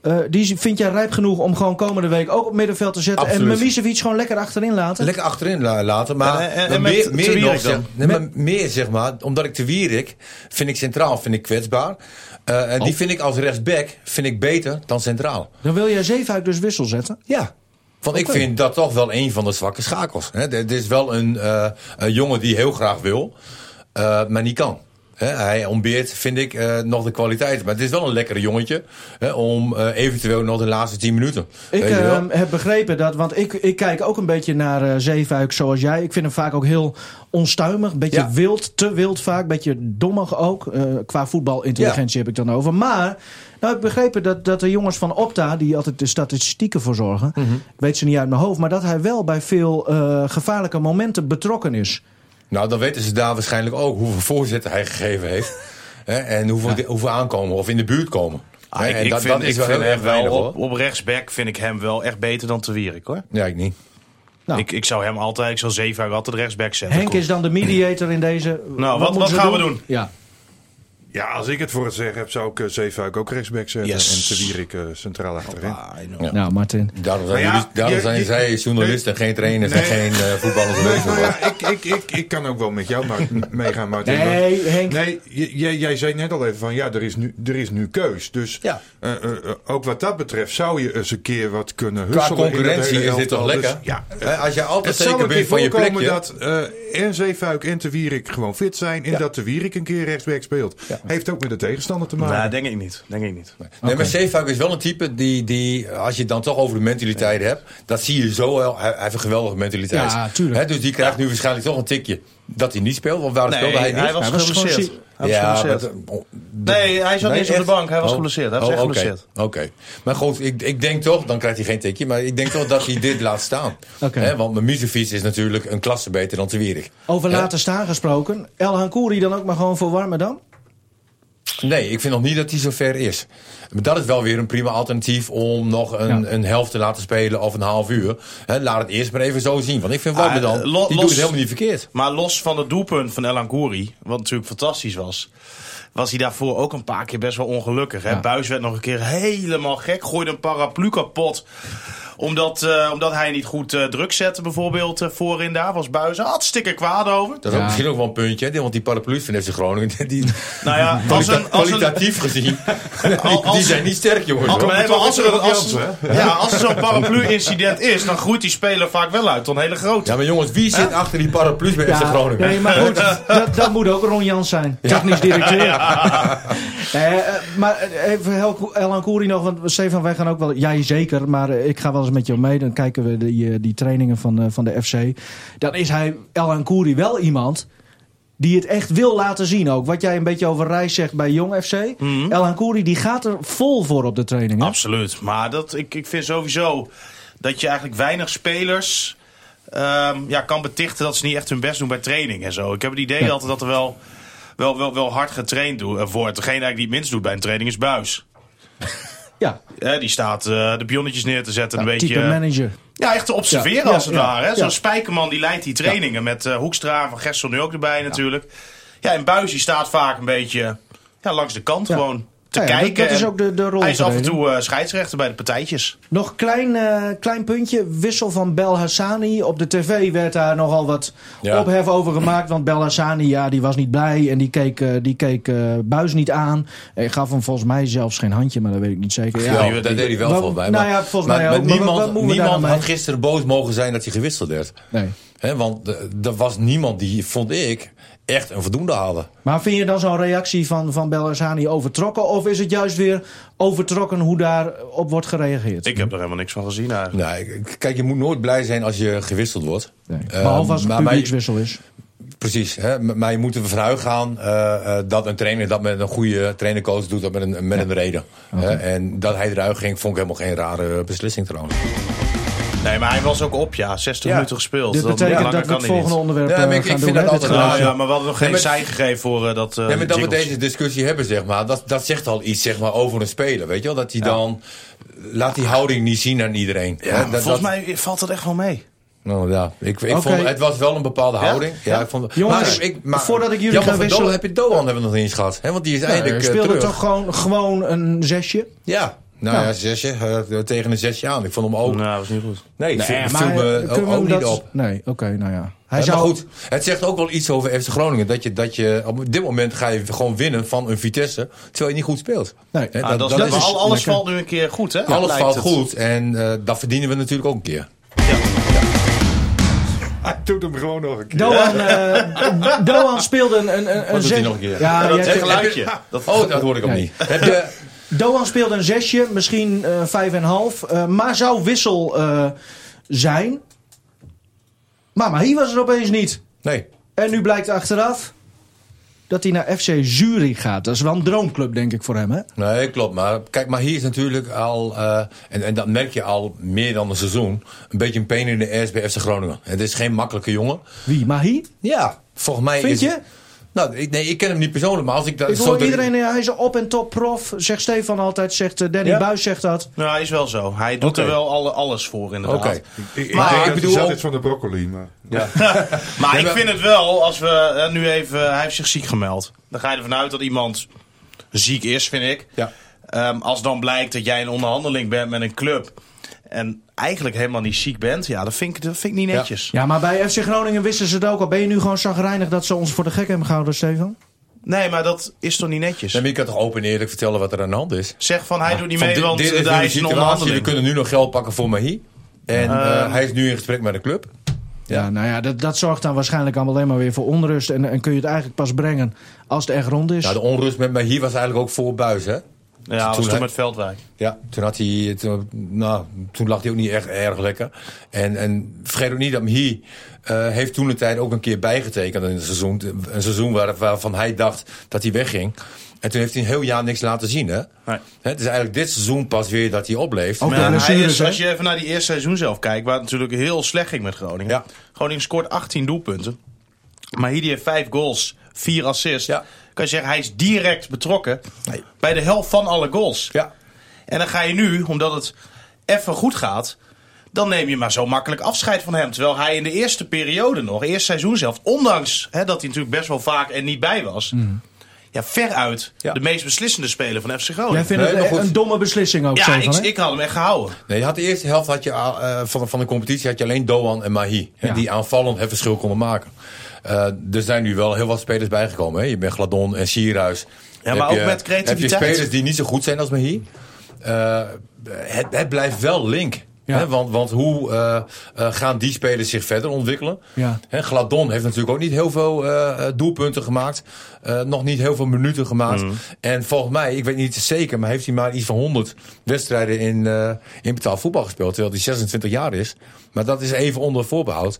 [SPEAKER 2] eh, die vind jij rijp genoeg om gewoon komende week ook op middenveld te zetten. En
[SPEAKER 7] Absoluut.
[SPEAKER 2] Mimicevic gewoon lekker achterin laten.
[SPEAKER 7] Lekker achterin la- laten. Maar,
[SPEAKER 3] En- en- en
[SPEAKER 7] maar
[SPEAKER 3] met
[SPEAKER 7] meer, meer,
[SPEAKER 3] Te Wierik
[SPEAKER 7] nog, zeg-
[SPEAKER 3] dan?
[SPEAKER 7] nee, maar meer zeg maar, omdat ik te Wierik vind ik centraal vind ik kwetsbaar. Eh,
[SPEAKER 3] Oh.
[SPEAKER 7] en die vind ik als rechtsback vind ik beter dan centraal.
[SPEAKER 2] Dan wil jij Zeefuik dus wissel zetten.
[SPEAKER 7] Ja. Want ik vind dat toch wel een van de zwakke schakels. hè. Het is wel een, eh, een jongen die heel graag wil, eh, maar niet kan. Hè, hij ontbeert, vind ik, eh, nog de kwaliteit. Maar het is wel een lekkere jongetje hè, om eh, eventueel nog de laatste 10 minuten.
[SPEAKER 2] Ik
[SPEAKER 7] weet je wel.
[SPEAKER 3] eh,
[SPEAKER 2] ehm, heb begrepen dat, want ik, ik kijk ook een beetje naar eh Zeefuik zoals jij. Ik vind hem vaak ook heel onstuimig, een beetje
[SPEAKER 7] Ja.
[SPEAKER 2] wild, te wild vaak, een beetje dommig ook. Eh, qua voetbalintelligentie heb ik dan over. Maar, nou heb ik begrepen dat, dat de jongens van Opta, die altijd de statistieken voor zorgen,
[SPEAKER 3] Mhm.
[SPEAKER 2] ik weet ze niet uit mijn hoofd, maar dat hij wel bij veel eh, gevaarlijke momenten betrokken is.
[SPEAKER 7] Nou, dan weten ze daar waarschijnlijk ook hoeveel voorzetten hij gegeven
[SPEAKER 6] *laughs*
[SPEAKER 7] heeft. hè, en hoeveel, hoeveel aankomen of in de buurt komen.
[SPEAKER 6] Ah,
[SPEAKER 7] Hè, en
[SPEAKER 3] ik
[SPEAKER 7] dat,
[SPEAKER 3] vind,
[SPEAKER 7] dat is
[SPEAKER 3] ik
[SPEAKER 7] wel
[SPEAKER 3] vind
[SPEAKER 7] heel erg
[SPEAKER 3] hem
[SPEAKER 7] weinig
[SPEAKER 3] wel
[SPEAKER 7] hoor.
[SPEAKER 3] op, op rechtsback vind ik hem wel echt beter dan Te Wierik hoor.
[SPEAKER 7] Ja, ik niet.
[SPEAKER 2] Nou.
[SPEAKER 3] Ik, ik zou hem altijd, ik zou Zeefuik altijd rechtsback zetten.
[SPEAKER 2] Henk is dan de mediator in deze.
[SPEAKER 3] Nou, wat-
[SPEAKER 2] moeten
[SPEAKER 3] wat
[SPEAKER 2] ze
[SPEAKER 3] gaan we doen?
[SPEAKER 2] Ja.
[SPEAKER 6] Ja, als ik het voor het zeggen heb, zou ik eh, Zeefuik ook rechtsback zetten.
[SPEAKER 3] Yes.
[SPEAKER 6] En Te Wierik eh, centraal achterin.
[SPEAKER 2] Nou, Martin.
[SPEAKER 7] Daarom zijn,
[SPEAKER 6] ja,
[SPEAKER 7] jullie, daarom
[SPEAKER 6] je-
[SPEAKER 7] zijn
[SPEAKER 6] je-
[SPEAKER 7] zij journalisten, geen trainers en
[SPEAKER 6] Nee. nou
[SPEAKER 7] geen eh, voetballers. of weet ik veel wat.
[SPEAKER 6] Ja, ik, ik, ik, ik kan ook wel met jou maar meegaan, Martin.
[SPEAKER 2] Nee,
[SPEAKER 6] want-
[SPEAKER 2] Henk.
[SPEAKER 6] Nee, j- jij, jij zei net al even van ja, er is nu, er is nu keus. Dus
[SPEAKER 7] Ja.
[SPEAKER 6] eh, eh, eh, ook wat dat betreft zou je eens een keer wat kunnen
[SPEAKER 7] Qua
[SPEAKER 6] husselen. in dat
[SPEAKER 7] concurrentie
[SPEAKER 6] hele
[SPEAKER 7] is dit
[SPEAKER 6] elftal.
[SPEAKER 7] toch
[SPEAKER 6] Dus
[SPEAKER 7] lekker?
[SPEAKER 6] ja,
[SPEAKER 7] Hè, Als je altijd
[SPEAKER 6] het zou
[SPEAKER 7] zeker
[SPEAKER 6] een keer
[SPEAKER 7] bent van je
[SPEAKER 6] voorkomen
[SPEAKER 7] plekje.
[SPEAKER 6] dat eh en Zeefuik en Te Wierik gewoon fit zijn. En
[SPEAKER 7] Ja.
[SPEAKER 6] dat Te Wierik een keer rechtsback speelt. Heeft ook met de tegenstander te maken.
[SPEAKER 3] Nou, denk ik niet. Denk ik niet.
[SPEAKER 7] Nee, maar Zeefuik is wel een type die, die, als je het dan toch over de mentaliteit hebt, dat zie je zo wel. Hij, hij heeft een geweldige mentaliteit.
[SPEAKER 2] Ja, tuurlijk.
[SPEAKER 7] Hè, dus die krijgt nu waarschijnlijk toch een tikje dat hij niet speelt. Want waarom speelde hij niet?
[SPEAKER 3] hij was
[SPEAKER 2] Hij was
[SPEAKER 3] geblesseerd.
[SPEAKER 2] gewoon
[SPEAKER 3] Hij was
[SPEAKER 7] ja,
[SPEAKER 3] geblesseerd.
[SPEAKER 7] maar dat-
[SPEAKER 3] Nee, hij zat niet eens op de
[SPEAKER 7] echt?
[SPEAKER 3] bank. Hij was
[SPEAKER 7] Oh.
[SPEAKER 3] geblesseerd. Hij was
[SPEAKER 7] Oh,
[SPEAKER 3] echt
[SPEAKER 7] oké.
[SPEAKER 3] geblesseerd.
[SPEAKER 7] Oké. Maar goed, ik, ik denk toch, dan krijgt hij geen tikje, maar ik denk toch dat hij dit laat staan.
[SPEAKER 2] Oké.
[SPEAKER 7] Hè, want mijn muzefiets is natuurlijk een klasse beter dan te wierig.
[SPEAKER 2] Over
[SPEAKER 7] Ja.
[SPEAKER 2] laten staan gesproken. El Hankouri dan ook maar gewoon voor warme dan?
[SPEAKER 7] Eh, Nee, ik vind nog niet dat hij zover is. Maar dat is wel weer een prima alternatief om nog een, een helft te laten spelen of een half uur. Hè, laat het eerst maar even zo zien. Want ik vind
[SPEAKER 3] Ah,
[SPEAKER 7] Warmer dan,
[SPEAKER 3] eh,
[SPEAKER 7] die
[SPEAKER 3] lo-
[SPEAKER 7] doet
[SPEAKER 3] los-
[SPEAKER 7] het helemaal niet verkeerd.
[SPEAKER 3] Maar los van het doelpunt van Elan Goury, wat natuurlijk fantastisch was, was hij daarvoor ook een paar keer best wel ongelukkig. Hè? Buis werd nog een keer helemaal gek, gooide een paraplu kapot. Omdat, eh, omdat hij niet goed eh, druk zette, bijvoorbeeld eh, voorin daar, was Buis hartstikke kwaad over.
[SPEAKER 7] Dat is ook misschien ook wel een puntje, hè, want die paraplu's van FC Groningen, *laughs* die,
[SPEAKER 3] Nou ja, als een, als een,
[SPEAKER 7] kwalitatief gezien,
[SPEAKER 3] *laughs* Al- als-
[SPEAKER 7] die zijn niet sterk jongens.
[SPEAKER 3] Al-
[SPEAKER 7] hoor.
[SPEAKER 3] nee, maar als er,
[SPEAKER 6] op
[SPEAKER 3] als,
[SPEAKER 6] Jansen,
[SPEAKER 3] ja, als er zo'n paraplu-incident is, dan groeit die speler vaak wel uit tot een hele grote.
[SPEAKER 7] Ja, maar jongens, wie zit achter die paraplu's bij FC Groningen?
[SPEAKER 2] nee, maar goed, dat, dat moet ook Ron Jans zijn. Technisch directeur. *laughs* Eh, eh, maar even Hel- El Hankouri nog, want Stefan, wij gaan ook wel... Jij zeker, maar eh, ik ga wel eens met jou mee. Dan kijken we die, eh, die trainingen van, eh, van de FC. Dan is hij, El Hankouri, wel iemand... Die het echt wil laten zien ook. Wat jij een beetje over Rijs zegt bij Jong FC. El Hankouri die gaat er vol voor op de training. hè?
[SPEAKER 3] Ah, Absoluut. Maar dat, ik, ik vind sowieso dat je eigenlijk weinig spelers ehm, ja, kan betichten dat ze niet echt hun best doen bij training en zo. Ik heb het idee
[SPEAKER 2] Ja.
[SPEAKER 3] altijd dat er wel, wel, wel, wel hard getraind doe- eh, wordt. Degene eigenlijk die het minst doet bij een training is Buis.
[SPEAKER 2] Ja, nou,
[SPEAKER 3] die staat eh, de pionnetjes neer te zetten. een beetje, eh,
[SPEAKER 2] type manager.
[SPEAKER 3] Ja, echt te observeren
[SPEAKER 2] Ja,
[SPEAKER 3] als het
[SPEAKER 2] ja,
[SPEAKER 3] ware. hè.
[SPEAKER 2] ja.
[SPEAKER 3] Zo'n Spijkerman die leidt die trainingen met eh, Hoekstra van Gessel nu ook erbij natuurlijk. Ja, en Buis die staat vaak een beetje ja, langs de kant
[SPEAKER 2] Ja.
[SPEAKER 3] gewoon te
[SPEAKER 2] Ja, ja, dat-
[SPEAKER 3] kijken.
[SPEAKER 2] dat is
[SPEAKER 3] En
[SPEAKER 2] ook de- de rol
[SPEAKER 3] Hij is af en
[SPEAKER 2] geweest,
[SPEAKER 3] toe eh, scheidsrechter bij de partijtjes.
[SPEAKER 2] Nog klein, eh, klein puntje. Wissel van Bel Hassani. Op de tv werd daar nogal wat
[SPEAKER 7] Ja.
[SPEAKER 2] ophef over gemaakt. Want Bel Hassani ja, die was niet blij. En die keek, eh, die keek eh, Buis niet aan. En gaf hem volgens mij zelfs geen handje. Maar dat weet ik niet zeker. Ja,
[SPEAKER 7] Ja, dat deed hij wel
[SPEAKER 2] Wat-
[SPEAKER 7] volgens mij.
[SPEAKER 2] nou
[SPEAKER 7] maar-
[SPEAKER 2] ja, volgens mij
[SPEAKER 7] maar- maar
[SPEAKER 2] ook. Maar wat-
[SPEAKER 7] niemand
[SPEAKER 2] wat moeten we daar
[SPEAKER 7] niemand
[SPEAKER 2] nou mee?
[SPEAKER 7] had gisteren boos mogen zijn dat hij gewisseld werd.
[SPEAKER 2] Nee.
[SPEAKER 7] Hè, want eh, er was niemand die, vond ik, echt een voldoende haalde.
[SPEAKER 2] Maar vind je dan zo'n reactie van, van Bel Hassani overtrokken? Of is het juist weer overtrokken hoe daarop wordt gereageerd?
[SPEAKER 3] Ik heb er helemaal niks van gezien eigenlijk.
[SPEAKER 7] Nou, ik- kijk, je moet nooit blij zijn als je gewisseld wordt.
[SPEAKER 2] Nee.
[SPEAKER 3] Ehm,
[SPEAKER 7] Eh,
[SPEAKER 2] Behalve als het
[SPEAKER 7] maar- maar je-
[SPEAKER 2] publiekswissel is.
[SPEAKER 7] Precies, hè? M- maar je moet ervan uitgaan eh, eh, dat een trainer dat met een goede trainercoach doet, dat met een, met een reden. Hè, en dat hij eruit ging, vond ik helemaal geen rare beslissing trouwens.
[SPEAKER 3] Nee, maar hij was ook op, ja. 60
[SPEAKER 7] Ja.
[SPEAKER 3] minuten gespeeld.
[SPEAKER 2] Dit
[SPEAKER 3] Dan-
[SPEAKER 2] betekent
[SPEAKER 3] langer
[SPEAKER 2] dat we
[SPEAKER 3] kan
[SPEAKER 2] het
[SPEAKER 3] hij niet.
[SPEAKER 2] volgende onderwerp
[SPEAKER 7] Ja,
[SPEAKER 2] eh,
[SPEAKER 7] maar ik-
[SPEAKER 2] gaan
[SPEAKER 7] ik
[SPEAKER 2] doen.
[SPEAKER 7] vind dat
[SPEAKER 2] hè? Dit
[SPEAKER 7] altijd
[SPEAKER 2] gedrag.
[SPEAKER 3] Nou ja, maar we hadden nog geen
[SPEAKER 7] Nee, maar-
[SPEAKER 3] zij gegeven voor eh, dat eh
[SPEAKER 7] Ja, maar dat we
[SPEAKER 3] jingles.
[SPEAKER 7] deze discussie hebben, zeg maar, dat, dat zegt al iets zeg maar, over een speler. Weet je wel? Dat hij dan. Laat die houding niet zien aan iedereen.
[SPEAKER 3] Ja,
[SPEAKER 7] Hè,
[SPEAKER 3] maar
[SPEAKER 7] dat-
[SPEAKER 3] volgens
[SPEAKER 7] dat-
[SPEAKER 3] mij valt dat echt wel mee.
[SPEAKER 7] Nou ja, ik, ik
[SPEAKER 2] Oké.
[SPEAKER 7] vond, het was wel een bepaalde houding. Ja? ik vond,
[SPEAKER 2] Jongens,
[SPEAKER 7] maar, ik,
[SPEAKER 2] voordat ik jullie
[SPEAKER 7] Jan
[SPEAKER 2] ga
[SPEAKER 7] van Doan
[SPEAKER 2] wisselen- Nou,
[SPEAKER 7] heb je Doan hebben we nog niet eens gehad. Hè? Want die is eindelijk
[SPEAKER 2] Hij
[SPEAKER 7] eh,
[SPEAKER 2] speelde
[SPEAKER 7] terug.
[SPEAKER 2] toch gewoon, gewoon een zesje?
[SPEAKER 7] Ja, Nou
[SPEAKER 2] Ja.
[SPEAKER 7] ja, zesje. eh, tegen een zesje aan. Ik vond hem ook.
[SPEAKER 3] Nou, dat was niet goed.
[SPEAKER 7] Nee, eh, ik viel-
[SPEAKER 2] Maar
[SPEAKER 7] viel
[SPEAKER 2] eh,
[SPEAKER 7] me
[SPEAKER 2] kunnen
[SPEAKER 7] ook,
[SPEAKER 2] we hem
[SPEAKER 7] ook
[SPEAKER 2] dat-
[SPEAKER 7] niet op.
[SPEAKER 2] Nee, oké, nou ja. Hij
[SPEAKER 7] Eh,
[SPEAKER 2] zou
[SPEAKER 7] Maar goed, het zegt ook wel iets over FC Groningen. Dat je, dat je op dit moment ga je gewoon winnen van een Vitesse. Terwijl je niet goed speelt.
[SPEAKER 2] Nee.
[SPEAKER 7] Hè,
[SPEAKER 2] Ah,
[SPEAKER 3] Ah,
[SPEAKER 7] dat,
[SPEAKER 3] dat,
[SPEAKER 7] dat
[SPEAKER 3] is-
[SPEAKER 7] is,
[SPEAKER 3] al- alles
[SPEAKER 2] lekker.
[SPEAKER 3] valt nu een keer goed, hè?
[SPEAKER 7] alles
[SPEAKER 3] Lijkt
[SPEAKER 7] valt
[SPEAKER 3] het.
[SPEAKER 7] goed. En eh, dat verdienen we natuurlijk ook een keer.
[SPEAKER 6] Hij doet hem gewoon nog een
[SPEAKER 3] Nou,
[SPEAKER 6] keer.
[SPEAKER 2] Doan, eh, *laughs* Doan speelde een, een, een,
[SPEAKER 7] doet hij
[SPEAKER 2] zes-
[SPEAKER 7] nog een keer?
[SPEAKER 2] Ja,
[SPEAKER 3] Ja, dat
[SPEAKER 2] jij-
[SPEAKER 7] *laughs*
[SPEAKER 3] geluidje. Dat,
[SPEAKER 7] Oh, dat hoor ik ook
[SPEAKER 2] Nee.
[SPEAKER 7] niet. Heb je,
[SPEAKER 2] Doan speelde een zesje, misschien eh, vijf en een half. eh, maar zou wissel eh, zijn. Maar Mahi was er opeens niet.
[SPEAKER 7] nee.
[SPEAKER 2] En nu blijkt achteraf dat hij naar FC Zurich gaat. Dat is wel een droomclub, denk ik, voor hem, hè?
[SPEAKER 7] Nee, klopt. Maar kijk, maar hier is natuurlijk al, eh, en, en dat merk je al meer dan een seizoen, een beetje een pijn in de ass bij FC Groningen. Het is geen makkelijke jongen.
[SPEAKER 2] Wie, Mahi?
[SPEAKER 7] Ja, volgens mij
[SPEAKER 2] Vind
[SPEAKER 7] is
[SPEAKER 2] je?
[SPEAKER 7] het- nou, ik, nee, ik ken hem niet persoonlijk, maar als ik dat
[SPEAKER 2] Ik
[SPEAKER 7] zo
[SPEAKER 2] hoor
[SPEAKER 7] de-
[SPEAKER 2] iedereen, eh, hij is een op- en top prof. Zegt Stefan altijd, zegt eh, Danny
[SPEAKER 7] Ja.
[SPEAKER 2] Buis zegt dat.
[SPEAKER 3] nou, hij is wel zo. Hij doet
[SPEAKER 7] Oké.
[SPEAKER 3] er wel alle, alles voor, inderdaad.
[SPEAKER 7] Oké.
[SPEAKER 6] Ik, ik
[SPEAKER 7] Maar
[SPEAKER 6] denk
[SPEAKER 7] ik
[SPEAKER 6] dat
[SPEAKER 7] bedoel
[SPEAKER 6] hij zat
[SPEAKER 7] ook-
[SPEAKER 6] is van de broccoli, maar...
[SPEAKER 7] Ja.
[SPEAKER 2] *laughs*
[SPEAKER 3] Maar
[SPEAKER 7] Nee,
[SPEAKER 3] ik
[SPEAKER 7] maar-
[SPEAKER 3] vind het wel, als we eh, nu even... hij heeft zich ziek gemeld. Dan ga je ervan uit dat iemand ziek is, vind ik.
[SPEAKER 7] ja.
[SPEAKER 3] Ehm, als dan blijkt dat jij in onderhandeling bent met een club... en eigenlijk helemaal niet ziek bent... ja, dat vind ik, dat vind ik niet
[SPEAKER 7] Ja.
[SPEAKER 3] netjes.
[SPEAKER 2] Ja, maar bij FC Groningen wisten ze het ook al. Ben je nu gewoon chagrijnig dat ze ons voor de gek hebben gehouden, Stefan?
[SPEAKER 3] Nee, maar dat is toch niet netjes?
[SPEAKER 7] Nee, maar je kan toch open en eerlijk vertellen wat er aan de hand is?
[SPEAKER 3] Zeg van, hij doet niet
[SPEAKER 7] Van
[SPEAKER 3] mee,
[SPEAKER 7] dit-
[SPEAKER 3] want
[SPEAKER 7] dit is
[SPEAKER 3] eh,
[SPEAKER 7] nu de
[SPEAKER 3] hij is in
[SPEAKER 7] situatie, We
[SPEAKER 3] onderhandeling.
[SPEAKER 7] kunnen nu nog geld pakken voor Mahi. En eh, hij is nu in gesprek met de club.
[SPEAKER 2] Ja, nou ja, dat, dat zorgt dan waarschijnlijk allemaal alleen maar weer voor onrust. En, en kun je het eigenlijk pas brengen als het echt rond is.
[SPEAKER 7] Nou, de onrust met Mahi was eigenlijk ook voor Buis, hè?
[SPEAKER 3] Ja, dat was
[SPEAKER 7] Toen-
[SPEAKER 3] toen met Veldwijk.
[SPEAKER 7] Ja, toen, had hij, toen, nou, toen lag hij ook niet echt erg lekker. En, en vergeet ook niet dat Mhi eh, heeft toen de tijd ook een keer bijgetekend in het seizoen. Een seizoen waar, waarvan hij dacht dat hij wegging. En toen heeft hij een heel jaar niks laten zien. Hè?
[SPEAKER 3] Nee.
[SPEAKER 7] Hè, het is eigenlijk dit seizoen pas weer dat hij opleeft.
[SPEAKER 2] Ook
[SPEAKER 3] Maar
[SPEAKER 2] door
[SPEAKER 3] ja, hij
[SPEAKER 2] blessures,
[SPEAKER 3] is,
[SPEAKER 2] hè?
[SPEAKER 3] als je even naar die eerste seizoen zelf kijkt, waar het natuurlijk heel slecht ging met Groningen.
[SPEAKER 7] Ja.
[SPEAKER 3] Groningen scoort 18 doelpunten. Maar hier die heeft 5 goals, 4 assists.
[SPEAKER 7] Ja.
[SPEAKER 3] Kan je zeggen, hij is direct betrokken
[SPEAKER 7] Nee.
[SPEAKER 3] bij de helft van alle goals.
[SPEAKER 7] Ja.
[SPEAKER 3] En dan ga je nu, omdat het even goed gaat, dan neem je maar zo makkelijk afscheid van hem. Terwijl hij in de eerste periode nog, eerste seizoen zelf, ondanks hè, dat hij natuurlijk best wel vaak er niet bij was.
[SPEAKER 2] Mhm.
[SPEAKER 3] Ja, veruit
[SPEAKER 7] Ja.
[SPEAKER 3] de meest beslissende speler van FC
[SPEAKER 2] Jij
[SPEAKER 3] Groningen.
[SPEAKER 2] vindt
[SPEAKER 7] Nee,
[SPEAKER 2] het
[SPEAKER 7] maar
[SPEAKER 2] eh,
[SPEAKER 7] goed.
[SPEAKER 2] een domme beslissing ook,
[SPEAKER 3] Ja,
[SPEAKER 2] Stefan,
[SPEAKER 3] ik,
[SPEAKER 2] hè?
[SPEAKER 3] ik had hem echt gehouden.
[SPEAKER 7] Nee, je had de eerste helft had je, eh, van, de- van de competitie had je alleen Doan en Mahi. hè,
[SPEAKER 2] Ja.
[SPEAKER 7] Die aanvallend het verschil konden maken. Eh, er zijn nu wel heel wat spelers bijgekomen. Hè? Je bent Gladon en Sierhuis.
[SPEAKER 3] Ja, maar
[SPEAKER 7] Heb
[SPEAKER 3] ook met creativiteit.
[SPEAKER 7] Heb je spelers die niet zo goed zijn als Mahi. Eh, het, het blijft wel link.
[SPEAKER 2] Ja.
[SPEAKER 7] Hè? Want, want hoe eh, eh, gaan die spelers zich verder ontwikkelen?
[SPEAKER 2] Ja.
[SPEAKER 7] Hè, Gladon heeft natuurlijk ook niet heel veel eh, eh, doelpunten gemaakt. Eh, nog niet heel veel minuten gemaakt. En volgens mij, ik weet niet zeker, maar heeft hij maar iets van 100 wedstrijden in, eh, in betaald voetbal gespeeld. Terwijl hij 26 jaar is. Maar dat is even onder voorbehoud.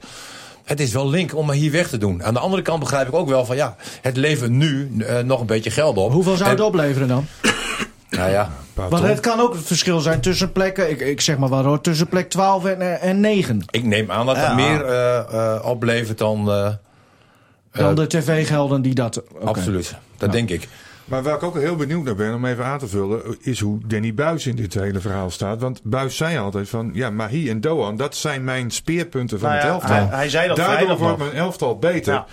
[SPEAKER 7] Het is wel link om maar hier weg te doen. Aan de andere kant begrijp ik ook wel van ja, het levert nu eh, nog een beetje geld op.
[SPEAKER 2] Hoeveel zou het
[SPEAKER 7] En-
[SPEAKER 2] opleveren dan?
[SPEAKER 7] Nou ja,
[SPEAKER 2] Want het kan ook het verschil zijn tussen plekken, ik, ik zeg maar wat hoor, tussen plek 12 en, eh, en 9.
[SPEAKER 7] ik neem aan dat dat
[SPEAKER 3] Ja.
[SPEAKER 7] meer eh, eh, oplevert dan. eh,
[SPEAKER 2] Dan de tv-gelden die dat... oké.
[SPEAKER 7] Absoluut, dat denk ik.
[SPEAKER 6] Maar waar ik ook heel benieuwd naar ben, om even aan te vullen, is hoe Danny Buis in dit hele verhaal staat. Want Buis zei altijd van, ja, Mahi en Doan, dat zijn mijn speerpunten van
[SPEAKER 3] Nou ja,
[SPEAKER 6] het elftal.
[SPEAKER 3] hij- hij zei dat
[SPEAKER 6] Daardoor
[SPEAKER 3] vrijdag
[SPEAKER 6] wordt
[SPEAKER 3] nog.
[SPEAKER 6] mijn elftal beter.
[SPEAKER 3] Ja.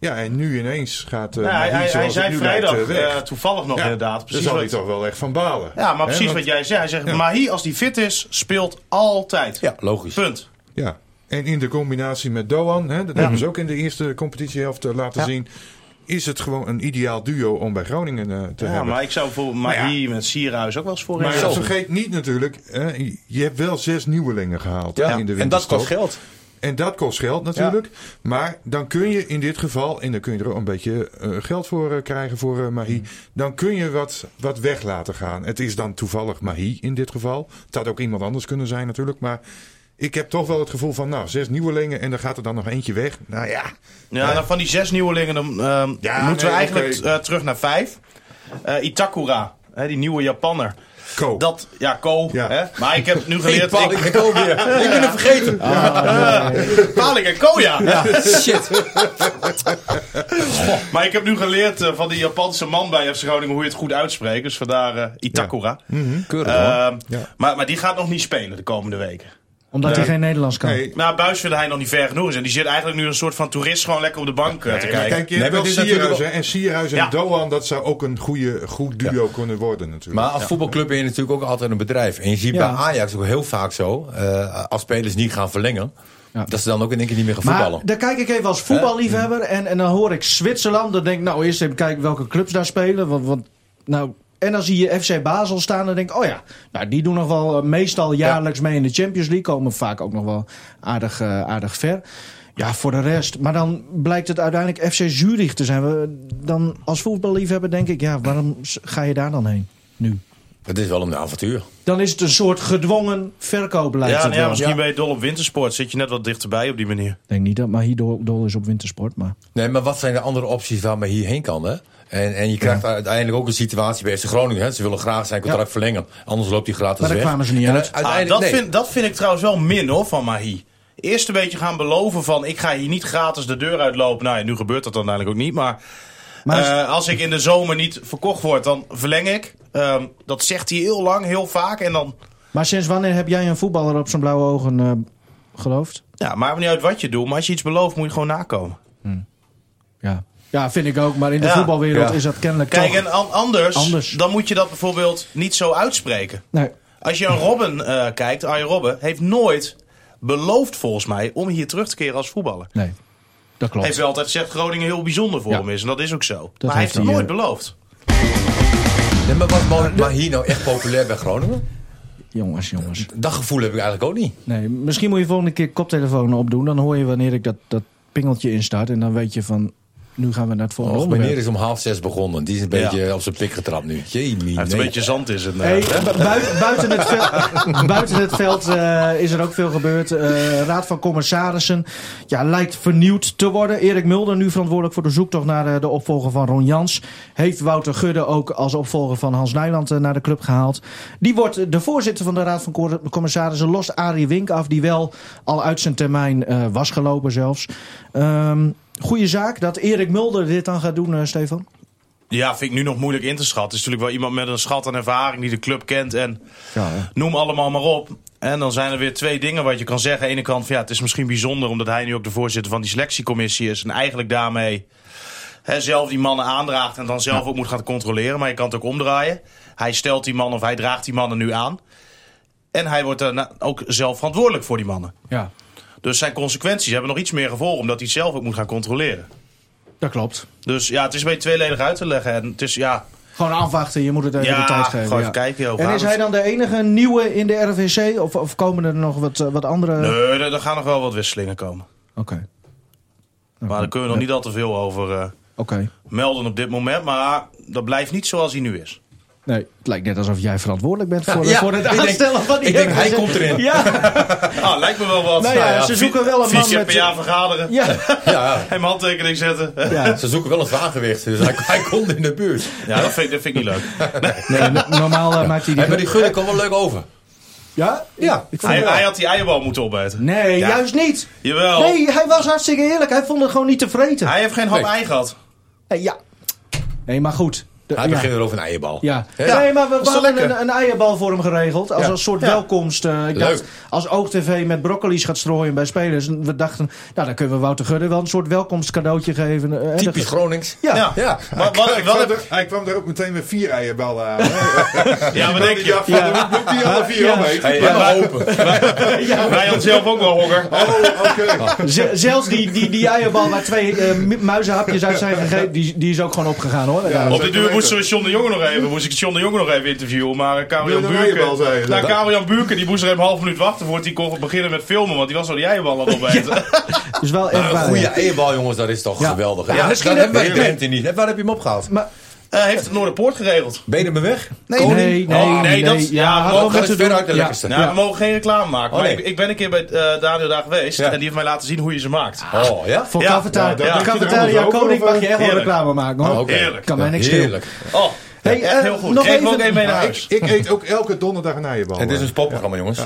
[SPEAKER 3] Nou
[SPEAKER 6] Ja. en nu ineens gaat eh
[SPEAKER 3] Ja, hij,
[SPEAKER 6] Mahi,
[SPEAKER 3] hij, hij
[SPEAKER 6] zoals het
[SPEAKER 3] zei
[SPEAKER 6] nu
[SPEAKER 3] vrijdag
[SPEAKER 6] lijkt, eh, weg.
[SPEAKER 3] eh, toevallig nog
[SPEAKER 6] Ja,
[SPEAKER 3] inderdaad. Precies
[SPEAKER 6] Daar zal
[SPEAKER 3] wat-
[SPEAKER 6] hij toch wel echt van balen.
[SPEAKER 3] ja, maar precies
[SPEAKER 6] Hè,
[SPEAKER 3] wat
[SPEAKER 6] want-
[SPEAKER 3] jij zegt. Hij zegt,
[SPEAKER 6] Ja.
[SPEAKER 3] Mahi als die fit is, speelt altijd.
[SPEAKER 7] Ja, logisch.
[SPEAKER 3] Punt.
[SPEAKER 6] Ja, en in de combinatie met Doan, hè, dat hebben ze ook in de eerste competitiehelft eh, laten zien, is het gewoon een ideaal duo om bij Groningen eh, te
[SPEAKER 3] Ja,
[SPEAKER 6] hebben. Nou
[SPEAKER 3] maar ik zou bijvoorbeeld Mahi met Sierhuis ook wel eens voorin
[SPEAKER 6] Maar
[SPEAKER 3] willen.
[SPEAKER 6] vergeet niet natuurlijk, hè, je hebt wel zes nieuwelingen gehaald
[SPEAKER 7] Ja,
[SPEAKER 6] hè, in de
[SPEAKER 7] en dat
[SPEAKER 6] winterstop.
[SPEAKER 7] kost geld.
[SPEAKER 6] En dat kost geld natuurlijk. Maar dan kun je in dit geval, en dan kun je er ook een beetje eh, geld voor eh, krijgen voor eh,
[SPEAKER 7] Mm.
[SPEAKER 6] Mahi. Dan kun je wat, wat weg laten gaan. Het is dan toevallig Mahi in dit geval. Het had ook iemand anders kunnen zijn natuurlijk. Maar ik heb toch wel het gevoel van, nou, zes nieuwelingen en dan gaat er dan nog eentje weg. Nou ja,
[SPEAKER 3] Ja, dan van die zes nieuwelingen dan, ehm,
[SPEAKER 6] Ja,
[SPEAKER 3] moeten we
[SPEAKER 6] nee,
[SPEAKER 3] eigenlijk
[SPEAKER 6] oké.
[SPEAKER 3] eh, terug naar vijf. Eh, Itakura, hè, die nieuwe Japanner.
[SPEAKER 6] Ko.
[SPEAKER 3] Dat, ja, Ko.
[SPEAKER 6] Ja.
[SPEAKER 3] Hè? Maar ik heb nu
[SPEAKER 7] Ik
[SPEAKER 3] geleerd... *laughs* ik,
[SPEAKER 7] ik ook weer. Ik ben het vergeten.
[SPEAKER 3] *laughs* Paling en Ko, ja.
[SPEAKER 7] Ja, shit.
[SPEAKER 3] *laughs* Maar ik heb nu geleerd eh, van die Japanse man bij FC Groningen hoe je het goed uitspreekt. Dus vandaar eh, Itakura.
[SPEAKER 7] Keurig
[SPEAKER 3] Ehm,
[SPEAKER 6] Ja.
[SPEAKER 3] maar, maar die gaat nog niet spelen de komende weken.
[SPEAKER 2] Omdat hij geen Nederlands kan.
[SPEAKER 6] Nee,
[SPEAKER 3] Nou, Buis vindt hij nog niet ver genoeg is. En die zit eigenlijk nu een soort van toerist gewoon lekker op de bank eh, te
[SPEAKER 6] maar
[SPEAKER 3] kijken.
[SPEAKER 6] kijk, je
[SPEAKER 7] Nee,
[SPEAKER 6] hebt
[SPEAKER 7] maar
[SPEAKER 6] wel
[SPEAKER 7] het is natuurlijk
[SPEAKER 6] Sierhuis
[SPEAKER 7] wel-
[SPEAKER 6] hè, en Sierhuis en
[SPEAKER 3] Ja.
[SPEAKER 6] Doan, dat zou ook een goede, goed duo kunnen worden natuurlijk.
[SPEAKER 7] Maar als voetbalclub ben je natuurlijk ook altijd een bedrijf. En je ziet
[SPEAKER 2] Ja.
[SPEAKER 7] bij Ajax ook heel vaak zo, eh, als spelers niet gaan verlengen,
[SPEAKER 2] Ja.
[SPEAKER 7] dat ze dan ook in één keer niet meer gaan
[SPEAKER 2] Maar
[SPEAKER 7] voetballen.
[SPEAKER 2] dan kijk ik even als voetballiefhebber en, en dan hoor ik Zwitserland. Dan denk ik, nou, eerst even kijken welke clubs daar spelen. Want, want, nou, en dan zie je FC Basel staan en denk ik, oh ja, nou, die doen nog wel eh, meestal jaarlijks mee in de Champions League. Komen vaak ook nog wel aardig, eh, aardig ver. Ja, voor de rest. Maar dan blijkt het uiteindelijk FC Zurich te zijn. We- Dan als voetballiefhebber denk ik, ja, waarom s- ga je daar dan heen? Nu.
[SPEAKER 7] Het is wel een avontuur.
[SPEAKER 2] Dan is het een soort gedwongen verkoopbeleid.
[SPEAKER 3] Ja,
[SPEAKER 2] Ik
[SPEAKER 3] nou ja, misschien
[SPEAKER 7] Ja.
[SPEAKER 3] ben je dol op wintersport. Zit je net wat dichterbij op die manier.
[SPEAKER 2] denk niet dat maar hier dol dol is op wintersport, maar...
[SPEAKER 7] Nee, maar wat zijn de andere opties waar men hierheen kan? Hè? En, en je krijgt uiteindelijk ook een situatie bij FC Groningen. Hè? Ze willen graag zijn contract verlengen. Anders loopt hij gratis
[SPEAKER 2] Maar daar
[SPEAKER 7] weg.
[SPEAKER 2] kwamen ze niet
[SPEAKER 7] En
[SPEAKER 2] uit.
[SPEAKER 7] u-
[SPEAKER 3] Ah,
[SPEAKER 7] Uiteindelijk,
[SPEAKER 3] dat,
[SPEAKER 7] nee.
[SPEAKER 3] vind, dat vind ik trouwens wel min hoor van Mahi. Eerst een beetje gaan beloven van ik ga hier niet gratis de deur uitlopen. Nou ja, nu gebeurt dat dan uiteindelijk ook niet. Maar,
[SPEAKER 2] Maar als-
[SPEAKER 3] eh, als ik in de zomer niet verkocht word, dan verleng ik. Ehm, dat zegt hij heel lang, heel vaak. En dan,
[SPEAKER 2] Maar sinds wanneer heb jij een voetballer op zijn blauwe ogen eh, geloofd?
[SPEAKER 3] ja, maakt me niet uit wat je doet. Maar als je iets belooft, moet je gewoon nakomen.
[SPEAKER 2] Ja. Ja, vind ik ook. Maar in de
[SPEAKER 3] Ja.
[SPEAKER 2] voetbalwereld
[SPEAKER 7] Ja.
[SPEAKER 2] is dat kennelijk
[SPEAKER 3] Kijk,
[SPEAKER 2] toch...
[SPEAKER 3] en an- anders,
[SPEAKER 2] Anders.
[SPEAKER 3] dan moet je dat bijvoorbeeld niet zo uitspreken.
[SPEAKER 2] Nee.
[SPEAKER 3] Als je aan Robben eh, kijkt, Arjen Robben heeft nooit beloofd volgens mij om hier terug te keren als voetballer.
[SPEAKER 2] nee, dat klopt.
[SPEAKER 3] Hij heeft wel altijd gezegd Groningen heel bijzonder voor
[SPEAKER 2] Ja.
[SPEAKER 3] hem is. En dat is ook zo. maar hij
[SPEAKER 2] heeft
[SPEAKER 3] heeft het
[SPEAKER 2] hij,
[SPEAKER 3] nooit
[SPEAKER 2] eh,
[SPEAKER 3] beloofd.
[SPEAKER 7] Nee, maar was Mo- Mahi nou echt populair bij Groningen?
[SPEAKER 2] Jongens, jongens.
[SPEAKER 7] Dat gevoel heb ik eigenlijk ook niet.
[SPEAKER 2] Nee, misschien moet je volgende keer koptelefoon opdoen. Dan hoor je wanneer ik dat, dat pingeltje instart. En dan weet je van, nu gaan we naar het volgende
[SPEAKER 3] Oh,
[SPEAKER 7] Och, meneer
[SPEAKER 2] onderwerp.
[SPEAKER 7] is om half zes begonnen. Die is een beetje op zijn plik getrapt nu. Jamie,
[SPEAKER 3] Hij heeft
[SPEAKER 7] nee.
[SPEAKER 3] een beetje zand in zijn
[SPEAKER 2] Hey,
[SPEAKER 3] eh, hè?
[SPEAKER 2] bu- bui- buiten het veld, buiten het veld eh, is er ook veel gebeurd. Eh, Raad van Commissarissen ja, lijkt vernieuwd te worden. Erik Mulder, nu verantwoordelijk voor de zoektocht naar eh, de opvolger van Ron Jans. Heeft Wouter Gudde ook als opvolger van Hans Nijland eh, naar de club gehaald. Die wordt eh, de voorzitter van de Raad van Cor- Commissarissen, lost Arie Wink af. Die wel al uit zijn termijn eh, was gelopen zelfs. Ehm goeie zaak dat Erik Mulder dit dan gaat doen, eh, Stefan.
[SPEAKER 3] Ja, vind ik nu nog moeilijk in te schatten. Het is natuurlijk wel iemand met een schat aan ervaring die de club kent. En
[SPEAKER 2] Ja,
[SPEAKER 3] noem allemaal maar op. En dan zijn er weer twee dingen wat je kan zeggen. Aan de ene kant, van, ja, het is misschien bijzonder omdat hij nu ook de voorzitter van die selectiecommissie is. En eigenlijk daarmee hè, zelf die mannen aandraagt en dan zelf ook moet gaan controleren. Maar je kan het ook omdraaien. Hij stelt die mannen of hij draagt die mannen nu aan. En hij wordt daarna ook zelf verantwoordelijk voor die mannen.
[SPEAKER 2] ja.
[SPEAKER 3] Dus zijn consequenties hebben nog iets meer gevolgen omdat hij het zelf ook moet gaan controleren.
[SPEAKER 2] dat klopt.
[SPEAKER 3] Dus ja, het is een beetje tweeledig uit te leggen. En het is, ja,
[SPEAKER 2] Gewoon afwachten, je moet het even
[SPEAKER 3] Ja,
[SPEAKER 2] de tijd geven.
[SPEAKER 3] gewoon even kijken, joh.
[SPEAKER 2] En is hij dan de enige nieuwe in de RVC? Of, of komen er nog wat, eh, wat andere?
[SPEAKER 3] nee, er, er gaan nog wel wat wisselingen komen.
[SPEAKER 2] Oké,
[SPEAKER 3] Maar daar kunnen we nog niet al te veel over eh,
[SPEAKER 2] oké.
[SPEAKER 3] melden op dit moment. Maar dat blijft niet zoals hij nu is.
[SPEAKER 2] Nee, het lijkt net alsof jij verantwoordelijk bent voor,
[SPEAKER 7] ja,
[SPEAKER 2] voor het
[SPEAKER 7] ik denk-
[SPEAKER 2] aanstellen van die
[SPEAKER 7] ik denk, hij
[SPEAKER 2] RVC.
[SPEAKER 7] komt erin.
[SPEAKER 2] Ja,
[SPEAKER 3] Ah, lijkt me wel wat.
[SPEAKER 2] nou ja, ze zoeken wel een
[SPEAKER 3] Vier
[SPEAKER 2] man
[SPEAKER 3] keer per
[SPEAKER 2] met...
[SPEAKER 3] jaar vergaderen.
[SPEAKER 2] Ja,
[SPEAKER 7] Ja,
[SPEAKER 3] Hem handtekening zetten. Ja,
[SPEAKER 2] *laughs* ja.
[SPEAKER 7] ze zoeken wel een zwaargewicht. Dus hij, hij komt in de buurt.
[SPEAKER 3] dat, vind, ik- dat vind ik niet leuk.
[SPEAKER 2] *laughs* Nee, no- normaal eh, maakt hij die...
[SPEAKER 7] Hey, maar die Gullit komt wel leuk over.
[SPEAKER 2] Ja?
[SPEAKER 7] Ja,
[SPEAKER 2] Ik vond
[SPEAKER 3] Hij,
[SPEAKER 2] het
[SPEAKER 3] hij
[SPEAKER 2] wel.
[SPEAKER 3] had die eierbal moeten opeten.
[SPEAKER 2] Nee,
[SPEAKER 3] Ja.
[SPEAKER 2] juist niet.
[SPEAKER 3] Jawel.
[SPEAKER 2] Nee, hij was hartstikke eerlijk. Hij vond het gewoon niet te vreten.
[SPEAKER 3] Hij heeft geen hap
[SPEAKER 7] Nee.
[SPEAKER 3] ei gehad.
[SPEAKER 2] Eh, Ja. Nee, maar goed. De-
[SPEAKER 7] Hij
[SPEAKER 2] ja.
[SPEAKER 7] begint erover een eierbal.
[SPEAKER 2] Ja.
[SPEAKER 7] Hè?
[SPEAKER 2] nee, maar we, we
[SPEAKER 3] toch
[SPEAKER 2] hadden
[SPEAKER 3] lekker?
[SPEAKER 2] een, een eierbal voor hem geregeld. Als
[SPEAKER 7] Ja.
[SPEAKER 2] een soort welkomst. eh, ik
[SPEAKER 7] Leuk.
[SPEAKER 2] dacht, als OogTV met broccoli's gaat strooien bij spelers. En We dachten, nou dan kunnen we Wouter Gudde wel een soort welkomstcadeautje geven. eh, en
[SPEAKER 7] Typisch
[SPEAKER 2] dat-
[SPEAKER 7] Gronings.
[SPEAKER 2] Ja.
[SPEAKER 3] Ja.
[SPEAKER 7] Ja.
[SPEAKER 3] Maar wat,
[SPEAKER 6] hij,
[SPEAKER 3] wat,
[SPEAKER 6] kwam er, hij kwam er ook meteen met vier eierballen
[SPEAKER 7] *laughs*
[SPEAKER 6] aan.
[SPEAKER 3] ja, wat denk
[SPEAKER 6] Ik
[SPEAKER 3] je?
[SPEAKER 6] dacht van, dan moet die alle vier
[SPEAKER 2] Ja.
[SPEAKER 6] omheen.
[SPEAKER 7] Hey,
[SPEAKER 3] Ja,
[SPEAKER 7] helemaal
[SPEAKER 3] maar-
[SPEAKER 7] open.
[SPEAKER 3] Wij hadden zelf ook wel honger.
[SPEAKER 6] Oh, oké.
[SPEAKER 2] Z- zelfs die, die, die eierbal waar twee eh, mu- muizenhapjes uit zijn gegeven, die, die is ook gewoon opgegaan hoor.
[SPEAKER 6] Ja.
[SPEAKER 3] Op de duur
[SPEAKER 6] weten.
[SPEAKER 3] moest ze John de Jonge nog even, moest ik John de Jonge nog even interviewen. Maar eh,
[SPEAKER 6] Wil
[SPEAKER 3] Karel-Jan
[SPEAKER 6] je een eierbal, zei je?
[SPEAKER 3] Buurken, nou,
[SPEAKER 6] Dat-
[SPEAKER 3] Karel-Jan Buurken die moest er even een half minuut wachten voordat hij kon beginnen met filmen. Want die was al die eierbal aan het opeten.
[SPEAKER 2] Dus wel echt
[SPEAKER 7] Een
[SPEAKER 2] waar.
[SPEAKER 7] goede
[SPEAKER 2] ja.
[SPEAKER 7] eierbal, jongens, dat is toch
[SPEAKER 2] Ja.
[SPEAKER 7] geweldig. hè?
[SPEAKER 2] Ja,
[SPEAKER 7] Ja,
[SPEAKER 2] misschien
[SPEAKER 7] dat hebben wij in
[SPEAKER 2] heb-
[SPEAKER 7] Drenthe niet. hè? Waar heb je hem opgehaald?
[SPEAKER 2] Maar,
[SPEAKER 3] *laughs* Eh, heeft het Noorderpoort geregeld?
[SPEAKER 7] Ben je hem weg?
[SPEAKER 2] nee, nee, nee,
[SPEAKER 3] Oh, nee, dat- ja,
[SPEAKER 2] hadden we
[SPEAKER 3] dat
[SPEAKER 2] ook
[SPEAKER 7] gaat
[SPEAKER 2] moeten
[SPEAKER 7] ver
[SPEAKER 2] doen.
[SPEAKER 7] uit de
[SPEAKER 2] Ja.
[SPEAKER 7] lekkerste.
[SPEAKER 3] Nou, we mogen geen reclame maken.
[SPEAKER 7] Oh,
[SPEAKER 3] maar
[SPEAKER 7] nee.
[SPEAKER 3] ik, ik ben een keer bij eh, Daniel daar geweest.
[SPEAKER 7] Ja.
[SPEAKER 3] En die heeft mij laten zien hoe je ze
[SPEAKER 2] Ah.
[SPEAKER 3] maakt.
[SPEAKER 7] Oh, ja?
[SPEAKER 2] Voor
[SPEAKER 3] Ja,
[SPEAKER 2] Cafetaria.
[SPEAKER 3] ja, dat-
[SPEAKER 2] Cafetaria
[SPEAKER 6] dat-
[SPEAKER 2] Koning mag je echt wel
[SPEAKER 3] Heerlijk.
[SPEAKER 2] reclame maken hoor.
[SPEAKER 7] Oh, oké.
[SPEAKER 3] Heerlijk.
[SPEAKER 2] Kan mij niks schelen.
[SPEAKER 7] Heerlijk.
[SPEAKER 3] Oh,
[SPEAKER 2] Hey,
[SPEAKER 3] echt
[SPEAKER 2] eh,
[SPEAKER 3] heel goed.
[SPEAKER 2] nog
[SPEAKER 3] Geef me ook
[SPEAKER 2] even-
[SPEAKER 3] één mee naar
[SPEAKER 6] Ja,
[SPEAKER 3] huis.
[SPEAKER 6] nou, ik, ik eet ook elke donderdag een eierbal.
[SPEAKER 7] Het is een spotprogramma, jongens.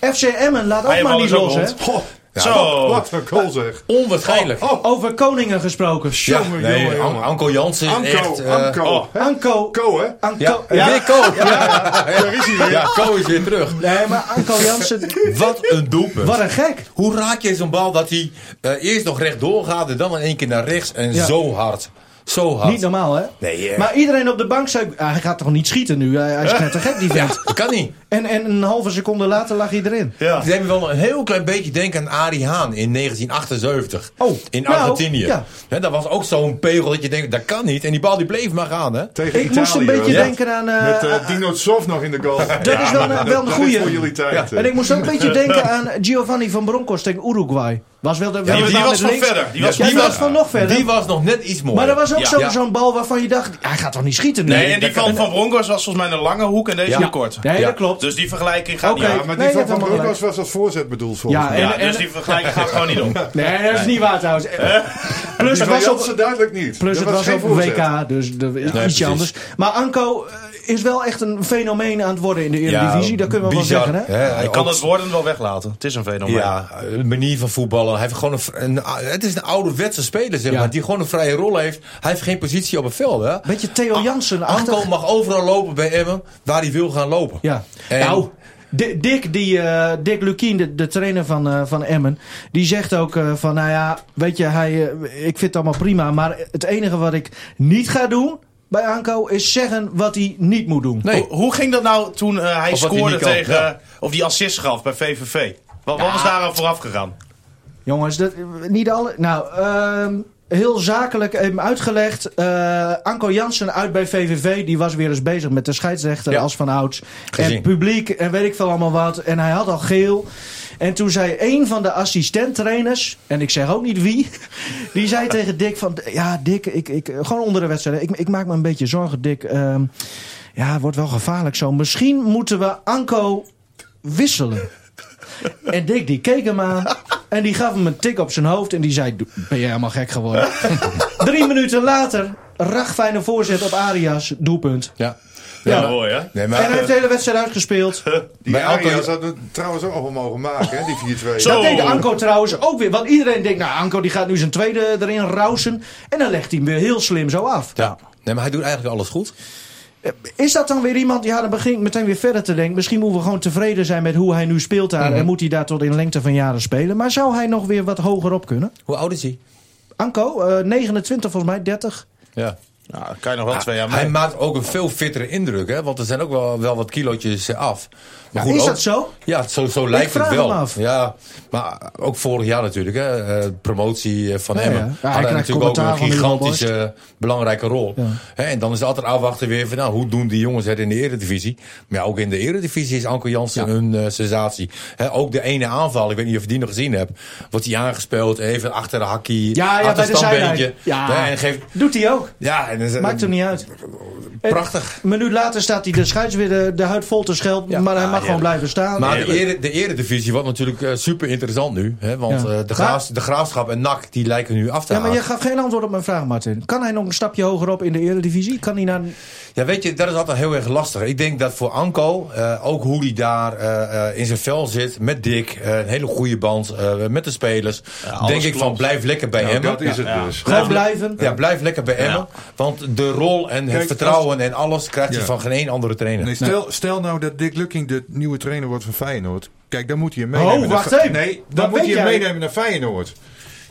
[SPEAKER 2] FC Emmen laat ook maar
[SPEAKER 3] Eierbal
[SPEAKER 2] niet
[SPEAKER 3] is ook
[SPEAKER 2] los hè.
[SPEAKER 3] rond.
[SPEAKER 7] Goh,
[SPEAKER 3] Zo.
[SPEAKER 6] Oh, Wat een goal zeg.
[SPEAKER 7] Onwaarschijnlijk.
[SPEAKER 2] Over koningen gesproken.
[SPEAKER 7] Ja,
[SPEAKER 6] jongen,
[SPEAKER 7] nee,
[SPEAKER 6] jongen,
[SPEAKER 7] An-
[SPEAKER 6] jongen.
[SPEAKER 7] Anko Jansen is echt...
[SPEAKER 6] Anko,
[SPEAKER 7] eh,
[SPEAKER 6] Anko. hè?
[SPEAKER 2] Anko.
[SPEAKER 6] Ko, hè?
[SPEAKER 2] Anko.
[SPEAKER 7] Ja, ja. weer Ko. Ja, Daar is hij weer. Ja, Ko is weer terug.
[SPEAKER 2] Nee, maar Anko Jansen.
[SPEAKER 7] Wat een doelpunt.
[SPEAKER 2] Wat een gek.
[SPEAKER 7] Hoe raak je zo'n bal dat hij eh, eerst nog rechtdoor gaat en dan in één keer naar rechts en
[SPEAKER 2] Ja.
[SPEAKER 7] zo hard. Zo hard.
[SPEAKER 2] Niet normaal, hè?
[SPEAKER 7] Nee, eh.
[SPEAKER 2] Maar iedereen op de bank zei... "Ah, hij gaat toch niet schieten nu? Hij, hij is net te gek, die
[SPEAKER 7] *laughs* Ja,
[SPEAKER 2] vent.
[SPEAKER 7] dat kan niet.
[SPEAKER 2] En, en een halve seconde later lag hij erin.
[SPEAKER 3] Ja.
[SPEAKER 7] Ze hebben wel een heel klein beetje denken aan Arie Haan in 1978.
[SPEAKER 2] Oh,
[SPEAKER 7] in
[SPEAKER 2] nou,
[SPEAKER 7] Argentinië.
[SPEAKER 2] ja.
[SPEAKER 7] Hè, dat was ook zo'n pegel dat je denkt, dat kan niet. En die bal die bleef maar gaan, hè?
[SPEAKER 6] Tegen
[SPEAKER 2] Ik
[SPEAKER 6] Italië.
[SPEAKER 2] moest een beetje
[SPEAKER 6] hè?
[SPEAKER 2] denken aan... eh,
[SPEAKER 6] Met eh, Dino Tsov nog in de goal.
[SPEAKER 2] *laughs* dat is wel een, wel een
[SPEAKER 6] Dat
[SPEAKER 2] goeie.
[SPEAKER 6] is voor jullie tijd. eh.
[SPEAKER 2] En ik moest ook een beetje denken aan Giovanni van Bronckhorst tegen Uruguay. Was wel de, wel
[SPEAKER 3] die
[SPEAKER 2] de baan
[SPEAKER 3] was
[SPEAKER 2] met
[SPEAKER 3] van
[SPEAKER 2] links.
[SPEAKER 3] verder. Die
[SPEAKER 2] Ja,
[SPEAKER 3] was-
[SPEAKER 2] die
[SPEAKER 3] die
[SPEAKER 2] was
[SPEAKER 3] was-
[SPEAKER 2] van nog verder.
[SPEAKER 7] Die was nog net iets mooier.
[SPEAKER 2] maar er was ook
[SPEAKER 7] Ja.
[SPEAKER 2] zo-
[SPEAKER 7] Ja.
[SPEAKER 2] zo'n bal waarvan je dacht... "Ah, Hij gaat toch niet schieten nu?
[SPEAKER 3] Nee, en die van Van Bronckhorst was volgens mij een lange hoek en deze
[SPEAKER 7] Ja.
[SPEAKER 3] een korte.
[SPEAKER 2] Nee,
[SPEAKER 7] Ja.
[SPEAKER 2] dat klopt.
[SPEAKER 3] Dus die vergelijking gaat
[SPEAKER 2] Oké.
[SPEAKER 3] niet
[SPEAKER 6] Ja,
[SPEAKER 3] aan.
[SPEAKER 6] maar
[SPEAKER 2] Nee,
[SPEAKER 6] die
[SPEAKER 2] je
[SPEAKER 6] van
[SPEAKER 2] hebt
[SPEAKER 6] Van
[SPEAKER 2] helemaal
[SPEAKER 6] Bronckhorst was als voorzet bedoeld volgens
[SPEAKER 2] Ja,
[SPEAKER 6] mij.
[SPEAKER 2] en-
[SPEAKER 3] Ja,
[SPEAKER 2] en-
[SPEAKER 3] dus die vergelijking gaat gewoon niet om.
[SPEAKER 2] Nee, dat is niet waar trouwens. Plus
[SPEAKER 6] Die
[SPEAKER 2] het
[SPEAKER 6] van
[SPEAKER 2] dus was op,
[SPEAKER 6] Jansen duidelijk niet.
[SPEAKER 2] plus
[SPEAKER 6] Dat
[SPEAKER 2] het was
[SPEAKER 6] geen
[SPEAKER 2] op
[SPEAKER 6] voorzet.
[SPEAKER 2] WK, dus de, ietsje
[SPEAKER 7] precies.
[SPEAKER 2] anders. Maar Anko eh, is wel echt een fenomeen aan het worden in de Eredivisie. dat kunnen we
[SPEAKER 7] bizar,
[SPEAKER 2] wel zeggen, hè?
[SPEAKER 7] hè?
[SPEAKER 3] Ik kan
[SPEAKER 7] Ook-
[SPEAKER 3] het woorden wel weglaten. Het is een fenomeen.
[SPEAKER 7] Ja, een manier van voetballen. Hij heeft gewoon een, een- het is een ouderwetse speler, zeg
[SPEAKER 2] Ja.
[SPEAKER 7] maar, die gewoon een vrije rol heeft. Hij heeft geen positie op het veld, hè? Ah,
[SPEAKER 2] Beetje Theo Jansen
[SPEAKER 7] Anko
[SPEAKER 2] achter.
[SPEAKER 7] mag overal lopen bij Emmen, waar hij wil gaan lopen.
[SPEAKER 2] Ja.
[SPEAKER 7] En-
[SPEAKER 2] Nou, Di- Dick, die, eh, Dick Lukien, de, de trainer van, eh, van Emmen, die zegt ook eh, van, nou ja, weet je, hij, eh, ik vind het allemaal prima, maar het enige wat ik niet ga doen bij Anko is zeggen wat hij niet moet doen.
[SPEAKER 7] Nee.
[SPEAKER 3] Hoe, hoe ging dat nou toen eh, hij
[SPEAKER 7] Of wat hij
[SPEAKER 3] scoorde
[SPEAKER 7] niet kan,
[SPEAKER 3] tegen... eh,
[SPEAKER 7] ja.
[SPEAKER 3] Of die assist gaf bij VVV? Wat, wat was daar aan vooraf gegaan?
[SPEAKER 2] Jongens, dat, niet alle. Nou, ehm, heel zakelijk even uitgelegd. Eh, Anko Jansen uit bij VVV. Die was weer eens bezig met de scheidsrechter
[SPEAKER 7] Ja.
[SPEAKER 2] als van ouds.
[SPEAKER 7] Gezien.
[SPEAKER 2] En publiek en weet ik veel allemaal wat. En hij had al geel. En toen zei een van de assistenttrainers, en ik zeg ook niet wie, *laughs* die zei tegen Dick van, ja Dick, ik, ik, gewoon onder de wedstrijd, ik, ik maak me een beetje zorgen Dick. Ehm, ja, het wordt wel gevaarlijk zo. Misschien moeten we Anko wisselen. En Dick die keek hem aan. En die gaf hem een tik op zijn hoofd. En die zei, "Doe- ben je helemaal gek geworden. Drie minuten later, ragfijne voorzet op Arias. Doelpunt.
[SPEAKER 7] Ja.
[SPEAKER 3] Ja,
[SPEAKER 7] maar-
[SPEAKER 3] mooi hè?
[SPEAKER 7] Nee,
[SPEAKER 2] En hij
[SPEAKER 7] maar,
[SPEAKER 2] heeft de hele wedstrijd uitgespeeld.
[SPEAKER 6] Die
[SPEAKER 7] Bij Anko-
[SPEAKER 6] Arias had het trouwens ook allemaal mogen maken, hè, die 4-2.
[SPEAKER 3] Zo.
[SPEAKER 2] Dat deed Anko trouwens ook weer. Want iedereen denkt, nou Anko die gaat nu zijn tweede erin rousen. En dan legt hij hem weer heel slim zo af.
[SPEAKER 7] ja. nee, maar hij doet eigenlijk alles goed.
[SPEAKER 2] Is dat dan weer iemand, ja dan begin ik meteen weer verder te denken. Misschien moeten we gewoon tevreden zijn met hoe hij nu speelt daar. En moet hij daar tot in lengte van jaren spelen. Maar zou hij nog weer wat hoger op kunnen?
[SPEAKER 7] Hoe oud is hij?
[SPEAKER 2] Anko, eh, 29 volgens mij, 30.
[SPEAKER 7] Ja.
[SPEAKER 3] Nou, dan kan je nog wel twee jaar mee.
[SPEAKER 7] Ah, Hij maakt ook een veel fittere indruk, hè? Want er zijn ook wel, wel wat kilootjes eh, af. Maar
[SPEAKER 2] is
[SPEAKER 7] ook-
[SPEAKER 2] dat zo?
[SPEAKER 7] Ja, zo, zo lijkt
[SPEAKER 2] vraag
[SPEAKER 7] het wel.
[SPEAKER 2] hem af.
[SPEAKER 7] Ja, maar ook vorig jaar natuurlijk, hè? eh, promotie eh, van
[SPEAKER 2] Ja,
[SPEAKER 7] Emmen.
[SPEAKER 2] ja. Ja, hij
[SPEAKER 7] Hadden
[SPEAKER 2] krijgt
[SPEAKER 7] natuurlijk ook
[SPEAKER 2] commentaar
[SPEAKER 7] een
[SPEAKER 2] van Milan
[SPEAKER 7] gigantische belangrijke rol. Hè, en dan is het altijd afwachten weer van, nou, hoe doen die jongens het in de Eredivisie? Maar ja, ook in de Eredivisie is Anko Jansen een eh, sensatie. Hè, ook de ene aanval, ik weet niet of je die nog gezien hebt, wordt hij aangespeeld, even achter de hakkie,
[SPEAKER 2] Ja, ja, bij
[SPEAKER 7] achter
[SPEAKER 2] de
[SPEAKER 7] het standbeentje.
[SPEAKER 2] zijlijn. Ja.
[SPEAKER 7] Hè, en geeft,
[SPEAKER 2] Doet hij ook.
[SPEAKER 7] ja, en dan is-
[SPEAKER 2] Maakt hem niet uit. Eh,
[SPEAKER 7] Prachtig.
[SPEAKER 2] Een minuut later staat hij de scheids weer de, de huid vol te schelpen.
[SPEAKER 7] Ja.
[SPEAKER 2] Maar hij
[SPEAKER 7] Ah,
[SPEAKER 2] mag gewoon
[SPEAKER 7] heerlijk.
[SPEAKER 2] blijven staan.
[SPEAKER 7] Maar de, ere, de eredivisie wordt natuurlijk eh, super interessant nu. Hè, want
[SPEAKER 2] Ja.
[SPEAKER 7] eh, de, graafs, de graafschap en NAC die lijken nu af te
[SPEAKER 2] ja, maar
[SPEAKER 7] haken.
[SPEAKER 2] je gaf geen antwoord op mijn vraag, Martin. Kan hij nog een stapje hoger op in de eredivisie? Kan hij naar...
[SPEAKER 7] Ja, weet je, dat is altijd heel erg lastig. Ik denk dat voor Anko, eh, ook hoe hij daar eh, eh, in zijn vel zit, met Dick, eh, een hele goede band eh, met de spelers. denk ik van blijf lekker bij
[SPEAKER 6] Nou,
[SPEAKER 7] Emmen.
[SPEAKER 6] dat is het dus.
[SPEAKER 2] Gewoon blijven?
[SPEAKER 7] Ja, blijf lekker bij Emmen. Want de rol en het
[SPEAKER 6] Kijk,
[SPEAKER 7] vertrouwen en alles krijgt hij
[SPEAKER 6] Ja.
[SPEAKER 7] van geen één andere trainer.
[SPEAKER 6] Nee, stel, stel nou dat Dick Lucking de nieuwe trainer wordt van Feyenoord. Kijk, dan moet hij hem meenemen.
[SPEAKER 2] Oh,
[SPEAKER 6] naar
[SPEAKER 2] wacht
[SPEAKER 6] Fe-
[SPEAKER 2] even.
[SPEAKER 6] Nee,
[SPEAKER 2] Wat
[SPEAKER 6] dan moet
[SPEAKER 2] weet
[SPEAKER 6] hij hem
[SPEAKER 2] jij?
[SPEAKER 6] meenemen naar Feyenoord.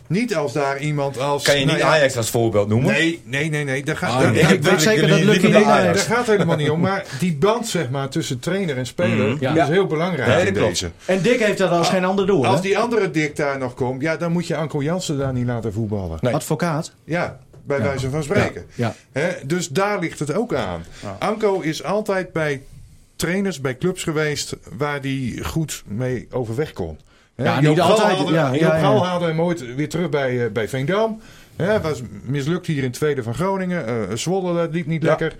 [SPEAKER 6] Niet als daar iemand als...
[SPEAKER 7] kan je niet
[SPEAKER 6] nou ja,
[SPEAKER 7] Ajax als voorbeeld noemen?
[SPEAKER 6] Nee, nee, nee, nee. Daar gaat,
[SPEAKER 7] Ah,
[SPEAKER 6] daar-
[SPEAKER 7] nee,
[SPEAKER 6] daar-
[SPEAKER 2] ik weet
[SPEAKER 6] daar-
[SPEAKER 2] zeker
[SPEAKER 7] jullie
[SPEAKER 2] dat Lucky
[SPEAKER 7] liever
[SPEAKER 2] niet
[SPEAKER 7] naar
[SPEAKER 2] Ajax.
[SPEAKER 6] daar gaat het helemaal niet om. Maar die band zeg maar, tussen trainer en speler die
[SPEAKER 2] Ja.
[SPEAKER 6] is heel belangrijk
[SPEAKER 7] Nee, dat
[SPEAKER 6] in
[SPEAKER 7] klopt.
[SPEAKER 6] deze.
[SPEAKER 2] En Dick heeft dat als
[SPEAKER 7] Ah,
[SPEAKER 2] geen ander door, hè?
[SPEAKER 6] Als die andere Dick daar nog komt, ja, dan moet je Anko Jansen daar niet laten voetballen.
[SPEAKER 7] Nee.
[SPEAKER 2] Advocaat.
[SPEAKER 6] Ja, bij wijze van spreken.
[SPEAKER 2] Nou. Ja.
[SPEAKER 6] Hè, dus daar ligt het ook aan. Anko is altijd bij trainers, bij clubs geweest waar hij goed mee overweg kon. Hè,
[SPEAKER 2] Ja,
[SPEAKER 6] Joop
[SPEAKER 2] niet
[SPEAKER 6] Gal
[SPEAKER 2] altijd,
[SPEAKER 6] haalde-
[SPEAKER 2] ja, ja,
[SPEAKER 6] Joop Gal
[SPEAKER 2] ja.
[SPEAKER 6] haalde hem ooit weer terug bij, eh, bij Veendam. Hè, was mislukt hier in het tweede van Groningen. Eh, Zwolle dat liep niet lekker.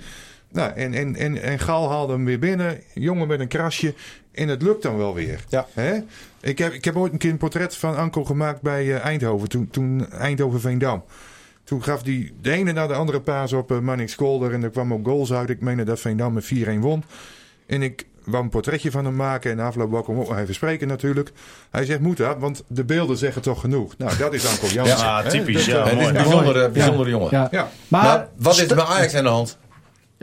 [SPEAKER 6] Nou, en, en, en, en Gal haalde hem weer binnen. Jongen met een krasje. En het lukt dan wel weer.
[SPEAKER 7] Ja.
[SPEAKER 6] Hè? Ik, heb, ik heb ooit een keer een portret van Anko gemaakt bij eh, Eindhoven. Toen, toen Eindhoven-Veendam. Toen gaf hij de ene na de andere paas op eh, Manning Kolder. En er kwam ook goals uit. Ik meende dat Veendam met 4-1 won. En ik wou een portretje van hem maken. En na afloop wou ik hem ook nog even spreken natuurlijk. Hij zegt, moet dat? Want de beelden zeggen toch genoeg. Nou, dat is Anko Jansen.
[SPEAKER 3] Ja,
[SPEAKER 6] hè?
[SPEAKER 3] Ah, typisch.
[SPEAKER 6] Dat-
[SPEAKER 3] Ja,
[SPEAKER 7] Het is
[SPEAKER 3] mooi.
[SPEAKER 7] een bijzondere, bijzondere jongen.
[SPEAKER 2] Ja.
[SPEAKER 6] Ja.
[SPEAKER 2] Maar,
[SPEAKER 7] Maar wat is
[SPEAKER 2] sta-
[SPEAKER 7] er met Ajax aan de hand?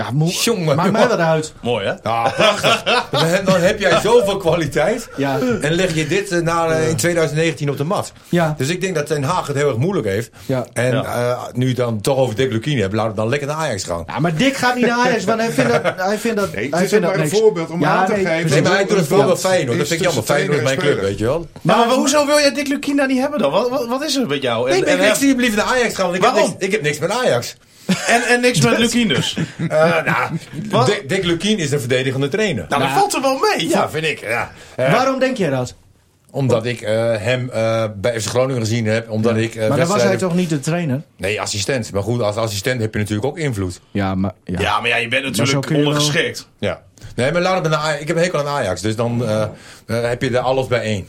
[SPEAKER 2] Ja, moe-
[SPEAKER 7] Jongen,
[SPEAKER 2] maakt mij
[SPEAKER 7] jongen.
[SPEAKER 2] wat uit.
[SPEAKER 3] Mooi, hè?
[SPEAKER 7] Ja, prachtig. Dan- *laughs* Dan heb jij zoveel kwaliteit.
[SPEAKER 2] Ja.
[SPEAKER 7] En leg je dit eh, na, eh, in 2019 op de mat.
[SPEAKER 2] Ja.
[SPEAKER 7] Dus ik denk dat Ten Haag het heel erg moeilijk heeft.
[SPEAKER 2] Ja.
[SPEAKER 7] En
[SPEAKER 3] Ja.
[SPEAKER 7] eh, nu je het dan toch over Dick Lukien hebt, laat het dan lekker naar Ajax gaan.
[SPEAKER 2] Ja, maar Dick gaat niet naar Ajax, want hij vindt
[SPEAKER 7] *laughs*
[SPEAKER 2] dat. Hij vindt dat
[SPEAKER 6] Nee, het
[SPEAKER 2] hij
[SPEAKER 6] is
[SPEAKER 2] vindt
[SPEAKER 6] ook maar
[SPEAKER 2] dat
[SPEAKER 6] een
[SPEAKER 2] niks.
[SPEAKER 6] voorbeeld om aan te geven.
[SPEAKER 7] Nee,
[SPEAKER 2] precies.
[SPEAKER 7] maar hij doet het wel bij
[SPEAKER 6] Dat
[SPEAKER 7] Feyenoord. Dat
[SPEAKER 6] is
[SPEAKER 7] vind ik jammer.
[SPEAKER 6] tussen
[SPEAKER 7] Feyenoord is mijn
[SPEAKER 6] trainer
[SPEAKER 7] club,
[SPEAKER 6] en
[SPEAKER 7] weet je wel.
[SPEAKER 3] Ja, maar hoezo
[SPEAKER 2] Oh
[SPEAKER 3] wil jij Dick Lukina niet hebben dan? Wat, wat, wat is er met jou? En,
[SPEAKER 7] ik,
[SPEAKER 3] en,
[SPEAKER 7] ik, ik zie hem liever naar Ajax gaan, want ik, heb
[SPEAKER 3] Waarom?
[SPEAKER 7] niks, ik heb niks met Ajax.
[SPEAKER 3] en, en niks *laughs* met Lukien dus.
[SPEAKER 7] Eh, nou,
[SPEAKER 3] Wat?
[SPEAKER 7] Dick, Dick Lukien is een verdedigende trainer.
[SPEAKER 3] Nou, dat valt er wel mee.
[SPEAKER 7] ja, vind ik. Ja. Eh,
[SPEAKER 2] Waarom denk jij dat?
[SPEAKER 7] Omdat ik eh, hem eh, bij FC Groningen gezien heb. Omdat ik,
[SPEAKER 2] maar
[SPEAKER 7] eh,
[SPEAKER 2] dan was hij
[SPEAKER 7] wedstrijden-
[SPEAKER 2] toch niet de trainer?
[SPEAKER 7] Nee, assistent. Maar goed, als assistent heb je natuurlijk ook invloed.
[SPEAKER 2] Ja, maar.
[SPEAKER 3] Ja, maar ja, je bent
[SPEAKER 2] zo
[SPEAKER 3] natuurlijk
[SPEAKER 2] kun je wel-
[SPEAKER 3] ondergeschikt.
[SPEAKER 7] Ja. Nee, maar laat het bij Ajax. Ik heb een hekel aan Ajax. Dus dan eh, eh, heb je er alles bij één.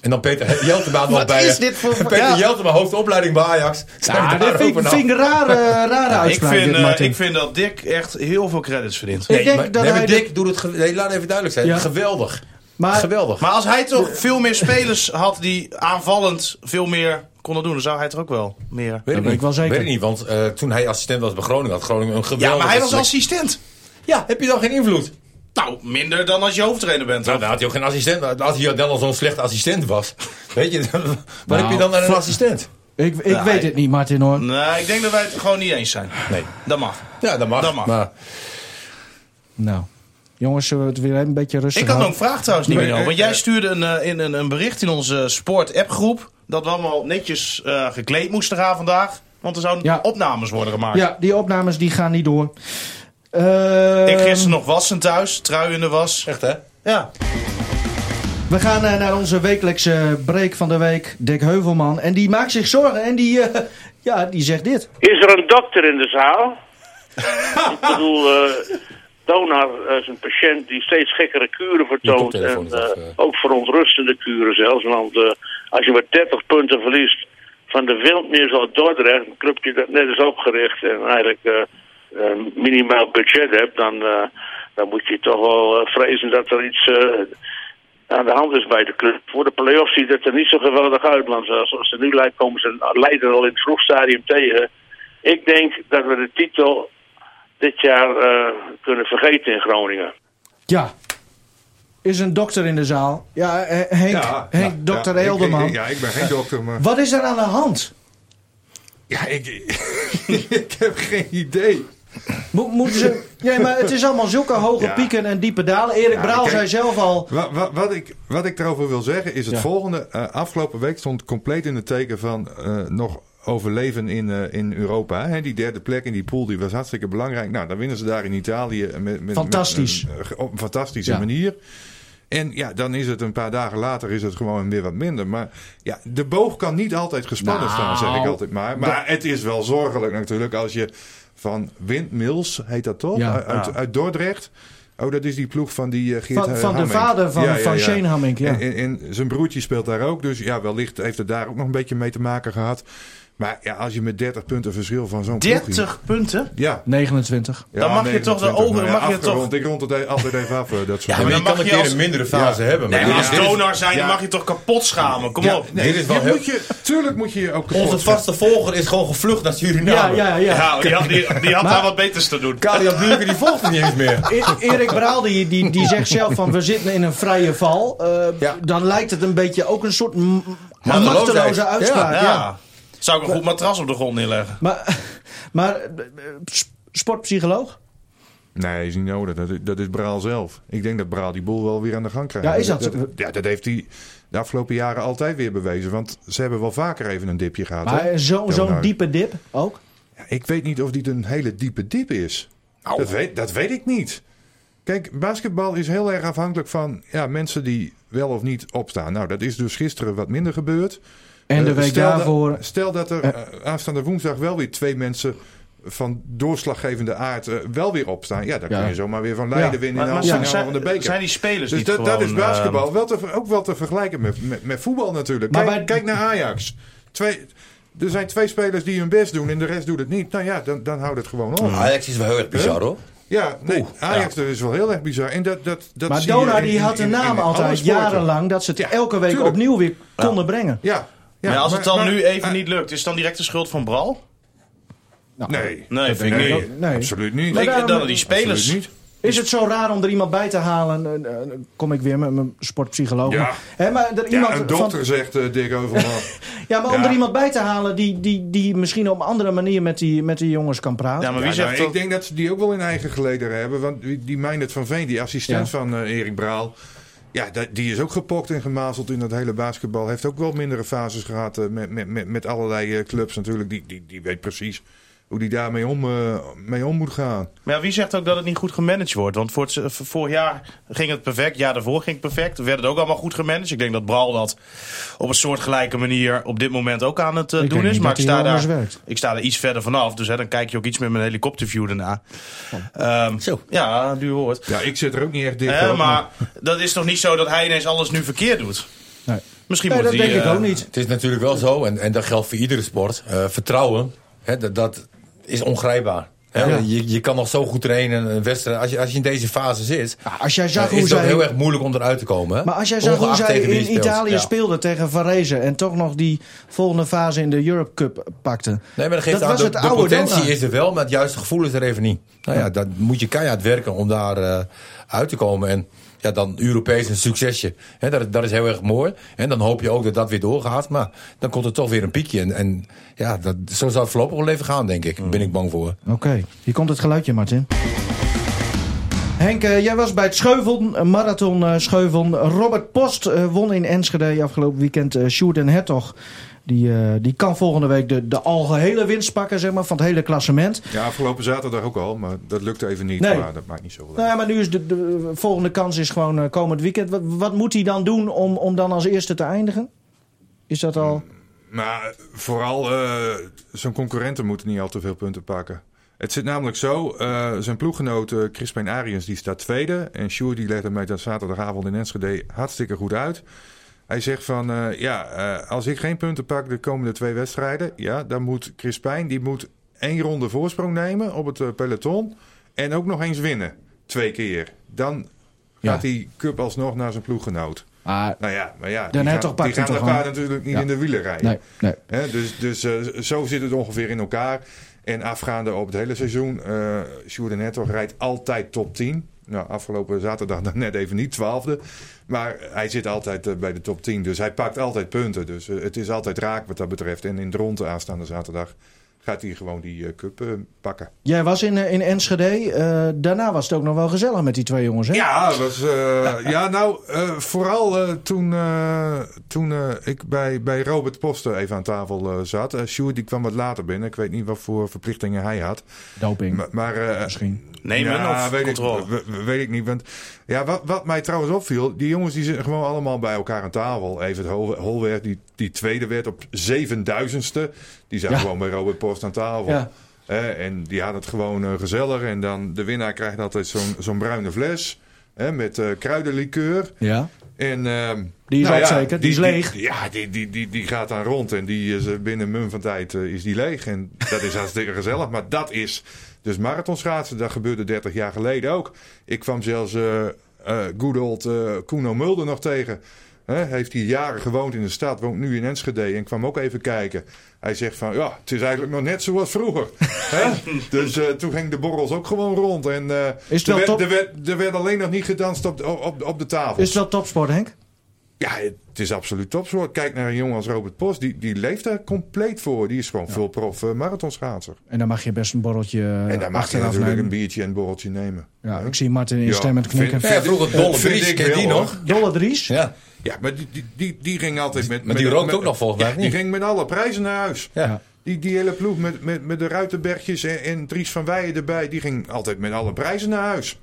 [SPEAKER 7] En dan Peter Jeltema nog
[SPEAKER 2] Wat
[SPEAKER 7] bij... eh,
[SPEAKER 2] is dit voor-
[SPEAKER 7] Peter
[SPEAKER 2] Ja.
[SPEAKER 7] Jeltema, hoofdopleiding bij Ajax. Zijn
[SPEAKER 2] Ja,
[SPEAKER 7] Ah, daar nou?
[SPEAKER 2] dat vind,
[SPEAKER 7] ook
[SPEAKER 2] ik-
[SPEAKER 7] vanaf?
[SPEAKER 2] vind ik een rare, rare
[SPEAKER 3] Ik
[SPEAKER 2] uitspraak.
[SPEAKER 3] vind,
[SPEAKER 2] dit,
[SPEAKER 3] eh,
[SPEAKER 2] Martin.
[SPEAKER 3] ik vind dat Dick echt heel veel credits verdient.
[SPEAKER 2] Ik
[SPEAKER 7] Nee,
[SPEAKER 2] denk
[SPEAKER 7] maar,
[SPEAKER 2] dat
[SPEAKER 7] nee, maar
[SPEAKER 2] hij
[SPEAKER 7] Dick doet het... ge- Nee, laat even duidelijk zijn.
[SPEAKER 2] Ja.
[SPEAKER 7] Geweldig.
[SPEAKER 2] maar,
[SPEAKER 7] Geweldig.
[SPEAKER 3] Maar als hij toch veel meer spelers had die aanvallend veel meer konden doen, dan zou hij toch ook wel meer.
[SPEAKER 7] Weet ik,
[SPEAKER 2] weet
[SPEAKER 7] niet.
[SPEAKER 2] ik wel zeker.
[SPEAKER 7] Weet ik niet, want eh, toen hij assistent was bij Groningen, had Groningen een geweldige...
[SPEAKER 3] Ja, maar hij was
[SPEAKER 7] selectie.
[SPEAKER 3] assistent.
[SPEAKER 7] Ja, heb je dan geen invloed?
[SPEAKER 3] Nou, minder dan als je hoofdtrainer bent.
[SPEAKER 7] Nou,
[SPEAKER 3] toch?
[SPEAKER 7] dan had hij ook geen assistent. Als hij dan al zo'n slechte assistent was. *laughs* Weet je, dan- wat
[SPEAKER 2] Nou,
[SPEAKER 7] heb je dan aan een assistent?
[SPEAKER 2] Ik, ik
[SPEAKER 3] Ja,
[SPEAKER 2] weet
[SPEAKER 3] hij-
[SPEAKER 2] het niet, Martin hoor.
[SPEAKER 3] Nee, ik denk dat wij het gewoon niet eens zijn.
[SPEAKER 7] Nee.
[SPEAKER 3] Dat mag.
[SPEAKER 7] Ja, dat mag.
[SPEAKER 3] Dat mag.
[SPEAKER 7] Maar,
[SPEAKER 2] Nou, jongens, zullen we het weer een beetje rustig
[SPEAKER 3] Ik had nog
[SPEAKER 2] houden?
[SPEAKER 3] een vraag trouwens, niet
[SPEAKER 6] Nee,
[SPEAKER 3] meer. Want
[SPEAKER 6] eh,
[SPEAKER 3] jij
[SPEAKER 6] eh.
[SPEAKER 3] stuurde een, eh, in een, een bericht in onze sport-app-groep. dat we allemaal netjes eh, gekleed moesten gaan vandaag. Want er zouden
[SPEAKER 2] Ja.
[SPEAKER 3] opnames worden gemaakt.
[SPEAKER 2] Ja, die opnames die gaan niet door.
[SPEAKER 3] Ik
[SPEAKER 2] Ehm,
[SPEAKER 3] gisteren nog wassen thuis, trui in de was.
[SPEAKER 7] echt hè?
[SPEAKER 3] Ja.
[SPEAKER 2] We gaan eh, naar onze wekelijkse break van de week, Dick Heuvelman. En die maakt zich zorgen en die, eh, *laughs* ja, die zegt dit.
[SPEAKER 8] Is er een dokter in de zaal? ik bedoel, eh, Donar is een patiënt die steeds gekkere kuren vertoont. En
[SPEAKER 7] koptelefoon is af,
[SPEAKER 8] eh,
[SPEAKER 7] eh.
[SPEAKER 8] ook verontrustende kuren zelfs. Want eh, als je maar 30 punten verliest van de Wildmeers uit Dordrecht, een clubje dat net is opgericht en eigenlijk eh, een minimaal budget hebt, dan, eh, dan moet je toch wel eh, vrezen dat er iets eh, aan de hand is bij de club. Voor de play-offs ziet het er niet zo geweldig uit, want eh, zoals ze nu lijkt komen ze leider al in het vroeg stadium tegen. Ik denk dat we de titel dit jaar eh, kunnen vergeten in Groningen.
[SPEAKER 2] Ja, is een dokter in de zaal. Ja, eh, Henk,
[SPEAKER 6] Ja,
[SPEAKER 2] Henk
[SPEAKER 6] ja,
[SPEAKER 2] dokter
[SPEAKER 6] ja, ik-
[SPEAKER 2] Eelderman.
[SPEAKER 6] ik- Ja, ik ben geen dokter, maar...
[SPEAKER 2] Wat is er aan de hand?
[SPEAKER 6] Ja, ik, *laughs* ik heb geen idee.
[SPEAKER 2] Mo- moeten ze...
[SPEAKER 6] *laughs*
[SPEAKER 2] Nee, maar het is allemaal zulke hoge
[SPEAKER 6] Ja.
[SPEAKER 2] pieken en diepe dalen. Erik
[SPEAKER 6] Ja,
[SPEAKER 2] Braal
[SPEAKER 6] kijk.
[SPEAKER 2] zei zelf al...
[SPEAKER 6] Wat, wat, wat, ik, wat ik erover wil zeggen is het
[SPEAKER 2] Ja.
[SPEAKER 6] volgende. Eh, afgelopen week stond compleet in het teken van eh, nog overleven in, eh, in Europa. Hè? Die derde plek in die pool die was hartstikke belangrijk. Nou, dan winnen ze daar in Italië. Met, met- met,
[SPEAKER 2] Fantastisch.
[SPEAKER 6] een, eh, op een fantastische
[SPEAKER 2] Ja.
[SPEAKER 6] manier. En ja, dan is het een paar dagen later is het gewoon weer wat minder. Maar ja, de boog kan niet altijd gespannen
[SPEAKER 2] Nou.
[SPEAKER 6] staan, zeg ik altijd maar. Maar het is wel zorgelijk natuurlijk als je van Windmills, heet dat toch?
[SPEAKER 2] Ja.
[SPEAKER 6] Uit, uit Dordrecht. Oh, dat is die ploeg van die eh,
[SPEAKER 2] Van-
[SPEAKER 6] eh,
[SPEAKER 2] van de vader van- van Shane Hammink, ja.
[SPEAKER 6] En, en- en zijn broertje speelt daar ook. Dus ja, wellicht heeft het daar ook nog een beetje mee te maken gehad. Maar ja, als je met 30 punten verschil van zo'n ploeg...
[SPEAKER 3] 30 punten?
[SPEAKER 6] Ja.
[SPEAKER 2] 29.
[SPEAKER 6] ja,
[SPEAKER 3] Dan mag je toch de
[SPEAKER 6] 29,
[SPEAKER 3] ogen-
[SPEAKER 6] nou ja,
[SPEAKER 3] mag je
[SPEAKER 6] afgerond.
[SPEAKER 3] toch-
[SPEAKER 6] Ik rond het altijd even af, eh, dat soort
[SPEAKER 7] Ja, maar
[SPEAKER 6] dingen.
[SPEAKER 7] je
[SPEAKER 3] dan
[SPEAKER 7] kan
[SPEAKER 3] mag
[SPEAKER 7] een
[SPEAKER 3] je
[SPEAKER 7] keer
[SPEAKER 3] als-
[SPEAKER 7] een mindere fase hebben. Maar
[SPEAKER 3] Nee,
[SPEAKER 7] dit
[SPEAKER 3] maar
[SPEAKER 7] is-
[SPEAKER 3] als
[SPEAKER 7] dit is-
[SPEAKER 3] donar zijn,
[SPEAKER 6] ja.
[SPEAKER 3] dan mag je toch kapot schamen. Kom op.
[SPEAKER 7] dit is wel
[SPEAKER 6] je
[SPEAKER 7] heel-
[SPEAKER 6] moet je, tuurlijk moet je je ook kapot
[SPEAKER 7] Onze vaste volger is gewoon gevlucht naar
[SPEAKER 2] Ja,
[SPEAKER 7] Suriname.
[SPEAKER 2] ja, ja.
[SPEAKER 3] Ja, die had, die, die had daar wat beters te doen.
[SPEAKER 7] Kali Abdulke, die volgt hem niet eens meer.
[SPEAKER 2] E- Erik Braal die, die, die zegt zelf van we zitten in een vrije val. Eh,
[SPEAKER 7] Ja.
[SPEAKER 2] Dan lijkt het een beetje ook een soort m-
[SPEAKER 7] Machteloosheid.
[SPEAKER 2] machteloze uitspraak.
[SPEAKER 3] Ja.
[SPEAKER 2] Ja,
[SPEAKER 3] Zou ik een goed matras op de grond neerleggen?
[SPEAKER 2] Maar, maar eh, s- sportpsycholoog?
[SPEAKER 6] Nee, is niet nodig. Dat is, dat is Braal zelf. Ik denk dat Braal die boel wel weer aan de gang krijgt.
[SPEAKER 2] Ja, is dat-
[SPEAKER 6] ja, dat heeft hij de afgelopen jaren altijd weer bewezen. Want ze hebben wel vaker even een dipje gehad.
[SPEAKER 2] Maar
[SPEAKER 6] hoor.
[SPEAKER 2] zo'n
[SPEAKER 6] Donar.
[SPEAKER 2] zo'n diepe dip ook?
[SPEAKER 6] Ja, Ik weet niet of dit een hele diepe dip is. Dat weet, dat weet ik niet. Kijk, basketbal is heel erg afhankelijk van ja, mensen die wel of niet opstaan. Nou, dat is dus gisteren wat minder gebeurd.
[SPEAKER 2] En de
[SPEAKER 6] Eh,
[SPEAKER 2] week
[SPEAKER 6] stel dat-
[SPEAKER 2] daarvoor.
[SPEAKER 6] stel dat er eh, aanstaande woensdag wel weer twee mensen van doorslaggevende aard eh, wel weer opstaan. Ja, dan
[SPEAKER 2] Ja.
[SPEAKER 6] kun je zomaar weer van Leiden
[SPEAKER 2] Ja.
[SPEAKER 6] winnen
[SPEAKER 3] Maar,
[SPEAKER 6] in de
[SPEAKER 3] maar zijn,
[SPEAKER 6] halve finale van de beker.
[SPEAKER 3] zijn, zijn die spelers
[SPEAKER 6] dus
[SPEAKER 3] niet
[SPEAKER 6] dat,
[SPEAKER 3] gewoon...
[SPEAKER 6] dat is
[SPEAKER 3] eh,
[SPEAKER 6] basketbal wel te, ook wel te vergelijken met, met, met voetbal natuurlijk.
[SPEAKER 2] Maar
[SPEAKER 6] kijk,
[SPEAKER 2] wij-
[SPEAKER 6] kijk naar Ajax. Twee, er zijn twee spelers die hun best doen en de rest doet het niet. Nou ja, dan, dan houdt het gewoon op.
[SPEAKER 7] Ajax is wel heel erg bizar hoor.
[SPEAKER 6] Ja, nee, Ajax, dat is wel heel erg bizar. En dat, dat, dat
[SPEAKER 2] Maar
[SPEAKER 6] zie je
[SPEAKER 2] Dona
[SPEAKER 6] in-
[SPEAKER 2] die had de
[SPEAKER 6] in- in-
[SPEAKER 2] naam
[SPEAKER 6] in alle
[SPEAKER 2] altijd
[SPEAKER 6] sporten.
[SPEAKER 2] jarenlang dat ze het elke week
[SPEAKER 6] tuurlijk.
[SPEAKER 2] opnieuw weer konden brengen.
[SPEAKER 6] Ja.
[SPEAKER 3] Ja, als het
[SPEAKER 6] maar-
[SPEAKER 3] dan
[SPEAKER 6] maar-
[SPEAKER 3] nu even
[SPEAKER 6] ah,
[SPEAKER 3] niet lukt, is het dan direct de schuld van Bral?
[SPEAKER 6] Nee,
[SPEAKER 3] Nee, vind ik
[SPEAKER 6] nee,
[SPEAKER 3] niet.
[SPEAKER 2] Nee.
[SPEAKER 6] absoluut niet.
[SPEAKER 2] Maar
[SPEAKER 3] Ik denk
[SPEAKER 2] daarom-
[SPEAKER 3] dat die
[SPEAKER 6] absoluut
[SPEAKER 3] spelers...
[SPEAKER 6] niet.
[SPEAKER 2] Is het zo raar om er iemand bij te halen? Eh, eh, Dan kom ik weer met mijn sportpsycholoog.
[SPEAKER 6] Ja.
[SPEAKER 2] Maar, hè, maar er iemand
[SPEAKER 6] Ja, een
[SPEAKER 2] van-
[SPEAKER 6] dokter zegt eh, Dick Overman.
[SPEAKER 2] ja, maar om
[SPEAKER 6] Ja.
[SPEAKER 2] er iemand bij te halen die, die, die misschien op een andere manier met die, met die jongens kan praten.
[SPEAKER 3] Ja, maar wie
[SPEAKER 6] Ja, nou,
[SPEAKER 3] zegt
[SPEAKER 6] ik
[SPEAKER 3] dat?
[SPEAKER 6] denk dat ze die ook wel in eigen geleden hebben. Want die, die Meijnerd van Veen, die assistent
[SPEAKER 2] Ja.
[SPEAKER 6] van eh, Erik Braal. Ja, da- die is ook gepokt en gemazeld in dat hele basketbal. Heeft ook wel mindere fases gehad eh, met, met, met, met allerlei eh, clubs natuurlijk. Die, die, die weet precies hoe die daarmee om, eh, mee om moet gaan.
[SPEAKER 3] Maar ja, wie zegt ook dat het niet goed gemanaged wordt? Want voor het- voor vorig jaar ging het perfect, jaar daarvoor ging het perfect. Werd het ook allemaal goed gemanaged. Ik denk dat Bral dat op een soortgelijke manier op dit moment ook aan het eh,
[SPEAKER 2] Ik
[SPEAKER 3] doen
[SPEAKER 2] denk
[SPEAKER 3] is.
[SPEAKER 2] niet
[SPEAKER 3] Maar
[SPEAKER 2] dat
[SPEAKER 3] ik
[SPEAKER 2] hij
[SPEAKER 3] sta,
[SPEAKER 2] heel
[SPEAKER 3] daar,
[SPEAKER 2] anders werkt.
[SPEAKER 3] ik sta er iets verder vanaf. Dus hè, dan kijk je ook iets meer met een helikopterview daarna. Ehm,
[SPEAKER 7] Zo.
[SPEAKER 3] Ja, duur woord.
[SPEAKER 6] Ja, ik zit er ook niet echt dicht
[SPEAKER 3] Hè,
[SPEAKER 6] op,
[SPEAKER 3] maar dat is toch niet zo dat hij ineens alles nu verkeerd doet?
[SPEAKER 2] Nee.
[SPEAKER 3] Misschien
[SPEAKER 2] Nee,
[SPEAKER 3] moet
[SPEAKER 2] dat
[SPEAKER 3] hij,
[SPEAKER 2] denk ik
[SPEAKER 3] eh,
[SPEAKER 2] ook niet.
[SPEAKER 7] Het is natuurlijk wel zo, en, en dat geldt voor iedere sport. eh, vertrouwen, hè, dat, dat is ongrijpbaar. Hè? Je, je kan nog zo goed trainen, een wedstrijd. Als je, als je in deze fase zit,
[SPEAKER 2] Ah, als jij zag
[SPEAKER 7] eh, is
[SPEAKER 2] hoe
[SPEAKER 7] het ook
[SPEAKER 2] zij-
[SPEAKER 7] heel erg moeilijk om eruit te komen. hè.
[SPEAKER 2] Maar als jij zag hoe
[SPEAKER 7] Ongeacht
[SPEAKER 2] zij
[SPEAKER 7] tegen wie je
[SPEAKER 2] in
[SPEAKER 7] speelt.
[SPEAKER 2] Italië
[SPEAKER 7] Ja.
[SPEAKER 2] speelde tegen Varese en toch nog die volgende fase in de Europe Cup pakte.
[SPEAKER 7] Nee, maar dat geeft aan,
[SPEAKER 2] was
[SPEAKER 7] de,
[SPEAKER 2] het
[SPEAKER 7] de
[SPEAKER 2] oude
[SPEAKER 7] potentie
[SPEAKER 2] Dona.
[SPEAKER 7] is er wel, maar het juiste gevoel is er even niet. Nou ja, dan moet je keihard werken om daar eh, uit te komen. En ja, dan Europees een succesje. Hè, dat, dat is heel erg mooi. En dan hoop je ook dat dat weer doorgaat. Maar dan komt er toch weer een piekje. En, en ja, dat, zo zou het voorlopig wel even gaan, denk ik. Daar ben ik bang voor.
[SPEAKER 2] Oké, hier komt het geluidje, Martin. Henk, eh, jij was bij het Scheuvel, eh, marathon eh, Scheuvel. Robert Post eh, won in Enschede afgelopen weekend eh Sjoerd en Hertog. Die, eh, die kan volgende week de, de algehele winst pakken zeg maar, van het hele klassement.
[SPEAKER 6] Ja, afgelopen zaterdag ook al, maar dat lukte even niet.
[SPEAKER 2] Nee.
[SPEAKER 6] Maar dat maakt niet zoveel
[SPEAKER 2] Nou
[SPEAKER 6] uit.
[SPEAKER 2] ja, maar nu is de, de eh, volgende kans is gewoon eh, komend weekend. Wat, wat moet hij dan doen om, om dan als eerste te eindigen? Is dat al...
[SPEAKER 6] Maar vooral, eh, zijn concurrenten moeten niet al te veel punten pakken. Het zit namelijk zo, eh, zijn ploeggenoot eh, Crispijn Ariens die staat tweede. En Sjoerd die legde mij dat zaterdagavond in Enschede hartstikke goed uit. Hij zegt van, eh, ja, eh, als ik geen punten pak de komende twee wedstrijden... ja, dan moet Crispijn, die moet één ronde voorsprong nemen op het eh, peloton... en ook nog eens winnen, twee keer. Dan gaat die cup alsnog naar zijn ploeggenoot.
[SPEAKER 2] Ah,
[SPEAKER 6] Nou ja, maar ja,
[SPEAKER 2] Dan
[SPEAKER 6] die
[SPEAKER 2] heeft
[SPEAKER 6] gaan,
[SPEAKER 2] toch Park
[SPEAKER 6] die gaan
[SPEAKER 2] hem
[SPEAKER 6] de
[SPEAKER 2] toch
[SPEAKER 6] paarden natuurlijk niet
[SPEAKER 2] Ja.
[SPEAKER 6] in de wielen rijden.
[SPEAKER 2] nee, nee.
[SPEAKER 6] Hè, dus dus eh, zo zit het ongeveer in elkaar. En afgaande op het hele seizoen, eh Sjoerd en Hertog rijdt altijd top 10. Nou, afgelopen zaterdag *laughs* dan net even niet, twaalfde. Maar hij zit altijd eh, bij de top 10, dus hij pakt altijd punten. Dus eh, het is altijd raak wat dat betreft. En in de ronde aanstaande zaterdag gaat hij gewoon die eh, cup eh, pakken.
[SPEAKER 2] Jij was in, eh, in Enschede. eh, daarna was het ook nog wel gezellig met die twee jongens, hè?
[SPEAKER 6] Ja, was, eh, ja nou, eh, vooral eh, toen, eh, toen eh, ik bij, bij Robert Poster even aan tafel eh, zat. Eh Sjoerd die kwam wat later binnen. Ik weet niet wat voor verplichtingen hij had.
[SPEAKER 2] Doping,
[SPEAKER 6] Maar, maar eh,
[SPEAKER 2] misschien.
[SPEAKER 3] Nemen
[SPEAKER 6] ja,
[SPEAKER 3] of
[SPEAKER 6] weet
[SPEAKER 3] controle?
[SPEAKER 6] Ik, we- we- weet ik niet. Want, ja, wat, wat mij trouwens opviel, die jongens die zitten gewoon allemaal bij elkaar aan tafel. Even het Hol- Holweg, die, die tweede werd op 7000ste. Die zat
[SPEAKER 2] Ja.
[SPEAKER 6] gewoon bij Robert Post aan tafel.
[SPEAKER 2] Ja.
[SPEAKER 6] Eh, en die had het gewoon eh, gezellig. En dan de winnaar krijgt altijd zo'n zo'n bruine fles. eh, met eh kruidenlikeur.
[SPEAKER 2] Ja.
[SPEAKER 6] En, ehm,
[SPEAKER 2] Die is
[SPEAKER 6] nou
[SPEAKER 2] op
[SPEAKER 6] ja,
[SPEAKER 2] zeker, die, is leeg.
[SPEAKER 6] ja, die, die, die, die gaat dan rond en die is eh, binnen mum van tijd eh, is die leeg. En dat is hartstikke gezellig. Maar dat is dus marathonschaatsen. Dat gebeurde 30 jaar geleden ook. Ik kwam zelfs eh eh good old eh, Kuno Mulder nog tegen. Hè, heeft hij jaren gewoond in de stad, woont nu in Enschede en kwam ook even kijken. Hij zegt van, ja, het is eigenlijk nog net zoals
[SPEAKER 2] *laughs*
[SPEAKER 6] vroeger. Hè? Dus eh, toen ging de borrels ook gewoon rond. En, eh,
[SPEAKER 2] het
[SPEAKER 6] er,
[SPEAKER 2] wel
[SPEAKER 6] werd,
[SPEAKER 2] top?
[SPEAKER 6] er, werd, er werd alleen nog niet gedanst op, de- op, op de tafel.
[SPEAKER 2] Is het wel topsport, Henk?
[SPEAKER 6] Ja, het is absoluut topsport. Kijk naar een jongen als Robert Post. Die, die leeft daar compleet voor. Die is gewoon veel prof eh, marathonschaatser.
[SPEAKER 2] En dan mag je best een borreltje eh,
[SPEAKER 6] en daar mag je
[SPEAKER 2] achteraf
[SPEAKER 6] natuurlijk
[SPEAKER 2] nemen.
[SPEAKER 6] een biertje en een borreltje nemen.
[SPEAKER 2] Ja, ik zie Martin instemmend
[SPEAKER 6] Ja,
[SPEAKER 2] knikken.
[SPEAKER 6] vind-
[SPEAKER 7] Ja, vroeger Dolle
[SPEAKER 6] vind
[SPEAKER 7] Vries,
[SPEAKER 6] ik
[SPEAKER 7] ken je die
[SPEAKER 6] wel, hoor.
[SPEAKER 7] nog?
[SPEAKER 2] Dolle Dries?
[SPEAKER 7] Ja.
[SPEAKER 6] Ja, maar die, die, die, die ging altijd met...
[SPEAKER 7] Maar die
[SPEAKER 6] met-
[SPEAKER 7] rookt
[SPEAKER 6] met-
[SPEAKER 7] ook nog volgens mij,
[SPEAKER 6] Ja,
[SPEAKER 7] of niet?
[SPEAKER 6] Die ging met alle prijzen naar huis.
[SPEAKER 7] Ja.
[SPEAKER 6] Die, die hele ploeg met, met, met de Ruitenbergjes en, en Dries van Weijen erbij. Die ging altijd met alle prijzen naar huis.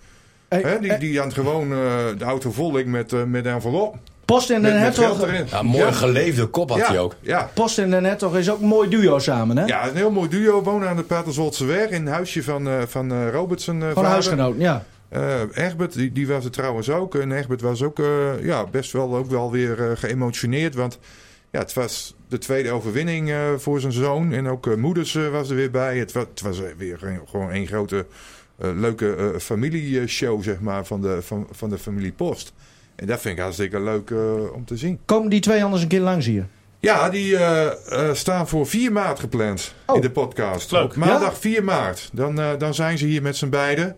[SPEAKER 2] Hey,
[SPEAKER 6] Hè, die,
[SPEAKER 2] eh,
[SPEAKER 6] die aan gewoon eh, de auto vol ik met, eh, met een envelop.
[SPEAKER 2] Post en
[SPEAKER 6] Met,
[SPEAKER 2] Den
[SPEAKER 6] met geld
[SPEAKER 2] Hertog.
[SPEAKER 6] erin.
[SPEAKER 7] Ja, mooi geleefde kop had
[SPEAKER 6] ja,
[SPEAKER 7] hij ook.
[SPEAKER 6] Ja,
[SPEAKER 2] Post en Den Hertog is ook een mooi duo samen, hè?
[SPEAKER 6] Ja, een heel mooi duo. Wonen aan de Paterzoldseweg in het huisje van, eh van eh Robertson. eh
[SPEAKER 2] Van
[SPEAKER 6] vader.
[SPEAKER 2] huisgenoten, ja.
[SPEAKER 6] Eh, Egbert, die, die was er trouwens ook. En Egbert was ook eh, ja, best wel, ook wel weer eh, geëmotioneerd. Want ja, het was de tweede overwinning eh, voor zijn zoon. En ook eh, moeders eh, was er weer bij. Het was, het was eh, weer een- gewoon één grote eh, leuke eh, familieshow zeg maar, van, de, van, van de familie Post. En dat vind ik hartstikke leuk eh, om te zien.
[SPEAKER 2] Komen die twee anders een keer langs hier?
[SPEAKER 6] Ja, die eh, eh, staan voor 4 maart gepland
[SPEAKER 2] Oh.
[SPEAKER 6] in de podcast.
[SPEAKER 3] Leuk.
[SPEAKER 6] Maandag 4 maart. Dan, eh, dan zijn ze hier met z'n beiden.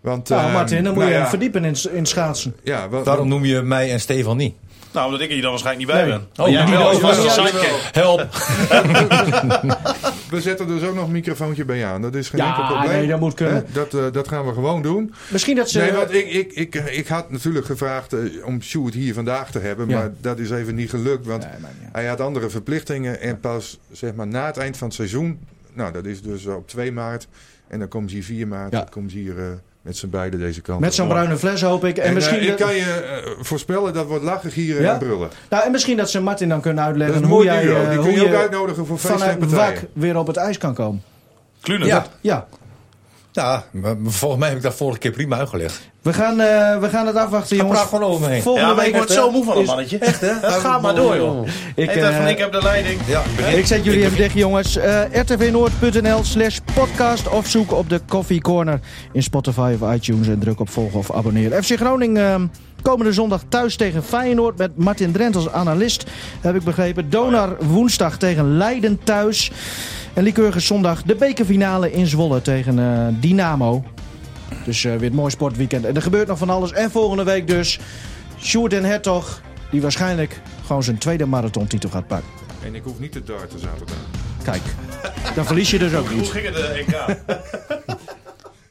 [SPEAKER 6] Want,
[SPEAKER 2] nou,
[SPEAKER 6] eh,
[SPEAKER 2] Martin, dan moet
[SPEAKER 6] nou
[SPEAKER 2] je
[SPEAKER 6] ja,
[SPEAKER 2] hem verdiepen in, s- in schaatsen.
[SPEAKER 6] Ja, wa-
[SPEAKER 7] Daarom noem je mij en Stefan niet.
[SPEAKER 3] Nou, omdat ik er hier dan waarschijnlijk niet bij
[SPEAKER 2] Nee.
[SPEAKER 3] ben.
[SPEAKER 7] Oh,
[SPEAKER 3] jij
[SPEAKER 7] die
[SPEAKER 3] wel,
[SPEAKER 7] wel.
[SPEAKER 3] je was een
[SPEAKER 7] Ja, die
[SPEAKER 3] sidekick.
[SPEAKER 7] Help.
[SPEAKER 6] we zetten dus ook nog een microfoontje bij je aan. Dat is geen
[SPEAKER 2] Ja,
[SPEAKER 6] enkel probleem.
[SPEAKER 2] nee, dat moet kunnen.
[SPEAKER 6] Hè, Dat, eh, dat gaan we gewoon doen.
[SPEAKER 2] Misschien dat ze...
[SPEAKER 6] Nee, want ik, ik, ik, eh, ik had natuurlijk gevraagd eh, om Sjoerd hier vandaag te hebben.
[SPEAKER 2] Ja.
[SPEAKER 6] Maar dat is even niet gelukt. Want
[SPEAKER 2] Nee, maakt niet uit.
[SPEAKER 6] hij had andere verplichtingen. En pas zeg maar, na het eind van het seizoen. Nou, dat is dus op 2 maart. En dan komen ze hier 4 maart.
[SPEAKER 2] Ja.
[SPEAKER 6] Dan komen ze hier eh, met z'n beiden deze kant.
[SPEAKER 2] Met zo'n
[SPEAKER 6] op.
[SPEAKER 2] bruine fles hoop ik. En,
[SPEAKER 6] En,
[SPEAKER 2] misschien
[SPEAKER 6] eh, ik
[SPEAKER 2] dat-
[SPEAKER 6] kan je eh, voorspellen dat wordt lachen, gieren
[SPEAKER 2] Ja?
[SPEAKER 6] en brullen.
[SPEAKER 2] Nou, en misschien dat ze Martin dan kunnen
[SPEAKER 6] Dat
[SPEAKER 2] uitleggen
[SPEAKER 6] is een
[SPEAKER 2] hoe
[SPEAKER 6] mooi
[SPEAKER 2] jij
[SPEAKER 6] duo.
[SPEAKER 2] eh,
[SPEAKER 6] Die kun
[SPEAKER 2] hoe
[SPEAKER 6] je ook uitnodigen voor feesten en
[SPEAKER 2] vanuit het
[SPEAKER 6] partijen.
[SPEAKER 2] wak weer op het ijs kan komen.
[SPEAKER 3] Klunen.
[SPEAKER 7] Ja.
[SPEAKER 2] Ja,
[SPEAKER 7] Ja, maar volgens mij heb ik dat vorige keer prima uitgelegd.
[SPEAKER 2] we gaan, eh, we gaan het afwachten,
[SPEAKER 7] Ga
[SPEAKER 2] jongens.
[SPEAKER 7] praat gewoon over me heen.
[SPEAKER 2] Volgende
[SPEAKER 3] Ja, maar
[SPEAKER 2] week
[SPEAKER 3] ik word
[SPEAKER 2] is-
[SPEAKER 3] zo moe van dat
[SPEAKER 2] is-
[SPEAKER 3] mannetje. Echt, *laughs* hè? Dat gaat maar door, joh.
[SPEAKER 2] Ik,
[SPEAKER 3] Ik, van,
[SPEAKER 2] eh,
[SPEAKER 3] ik heb de leiding.
[SPEAKER 7] Ja, begin.
[SPEAKER 2] Ik zet jullie even dicht, jongens. Eh, rtvnoord.nl slash podcast of zoek op de Coffee Corner in Spotify of iTunes en druk op volgen of abonneren. FC Groningen ehm, komende zondag thuis tegen Feyenoord met Martin Drent als analist, heb ik begrepen. Donar woensdag tegen Leiden thuis. En Lycurgus zondag de bekerfinale in Zwolle tegen eh, Dynamo. Dus eh, weer een mooi sportweekend. En er gebeurt nog van alles. En volgende week dus Sjoerd en Hertog, die waarschijnlijk gewoon zijn tweede marathontitel gaat pakken.
[SPEAKER 6] En ik hoef niet te darten zaterdag.
[SPEAKER 2] Kijk, dan verlies je dus ook
[SPEAKER 3] Hoe
[SPEAKER 2] niet.
[SPEAKER 3] ging het, eh, NK?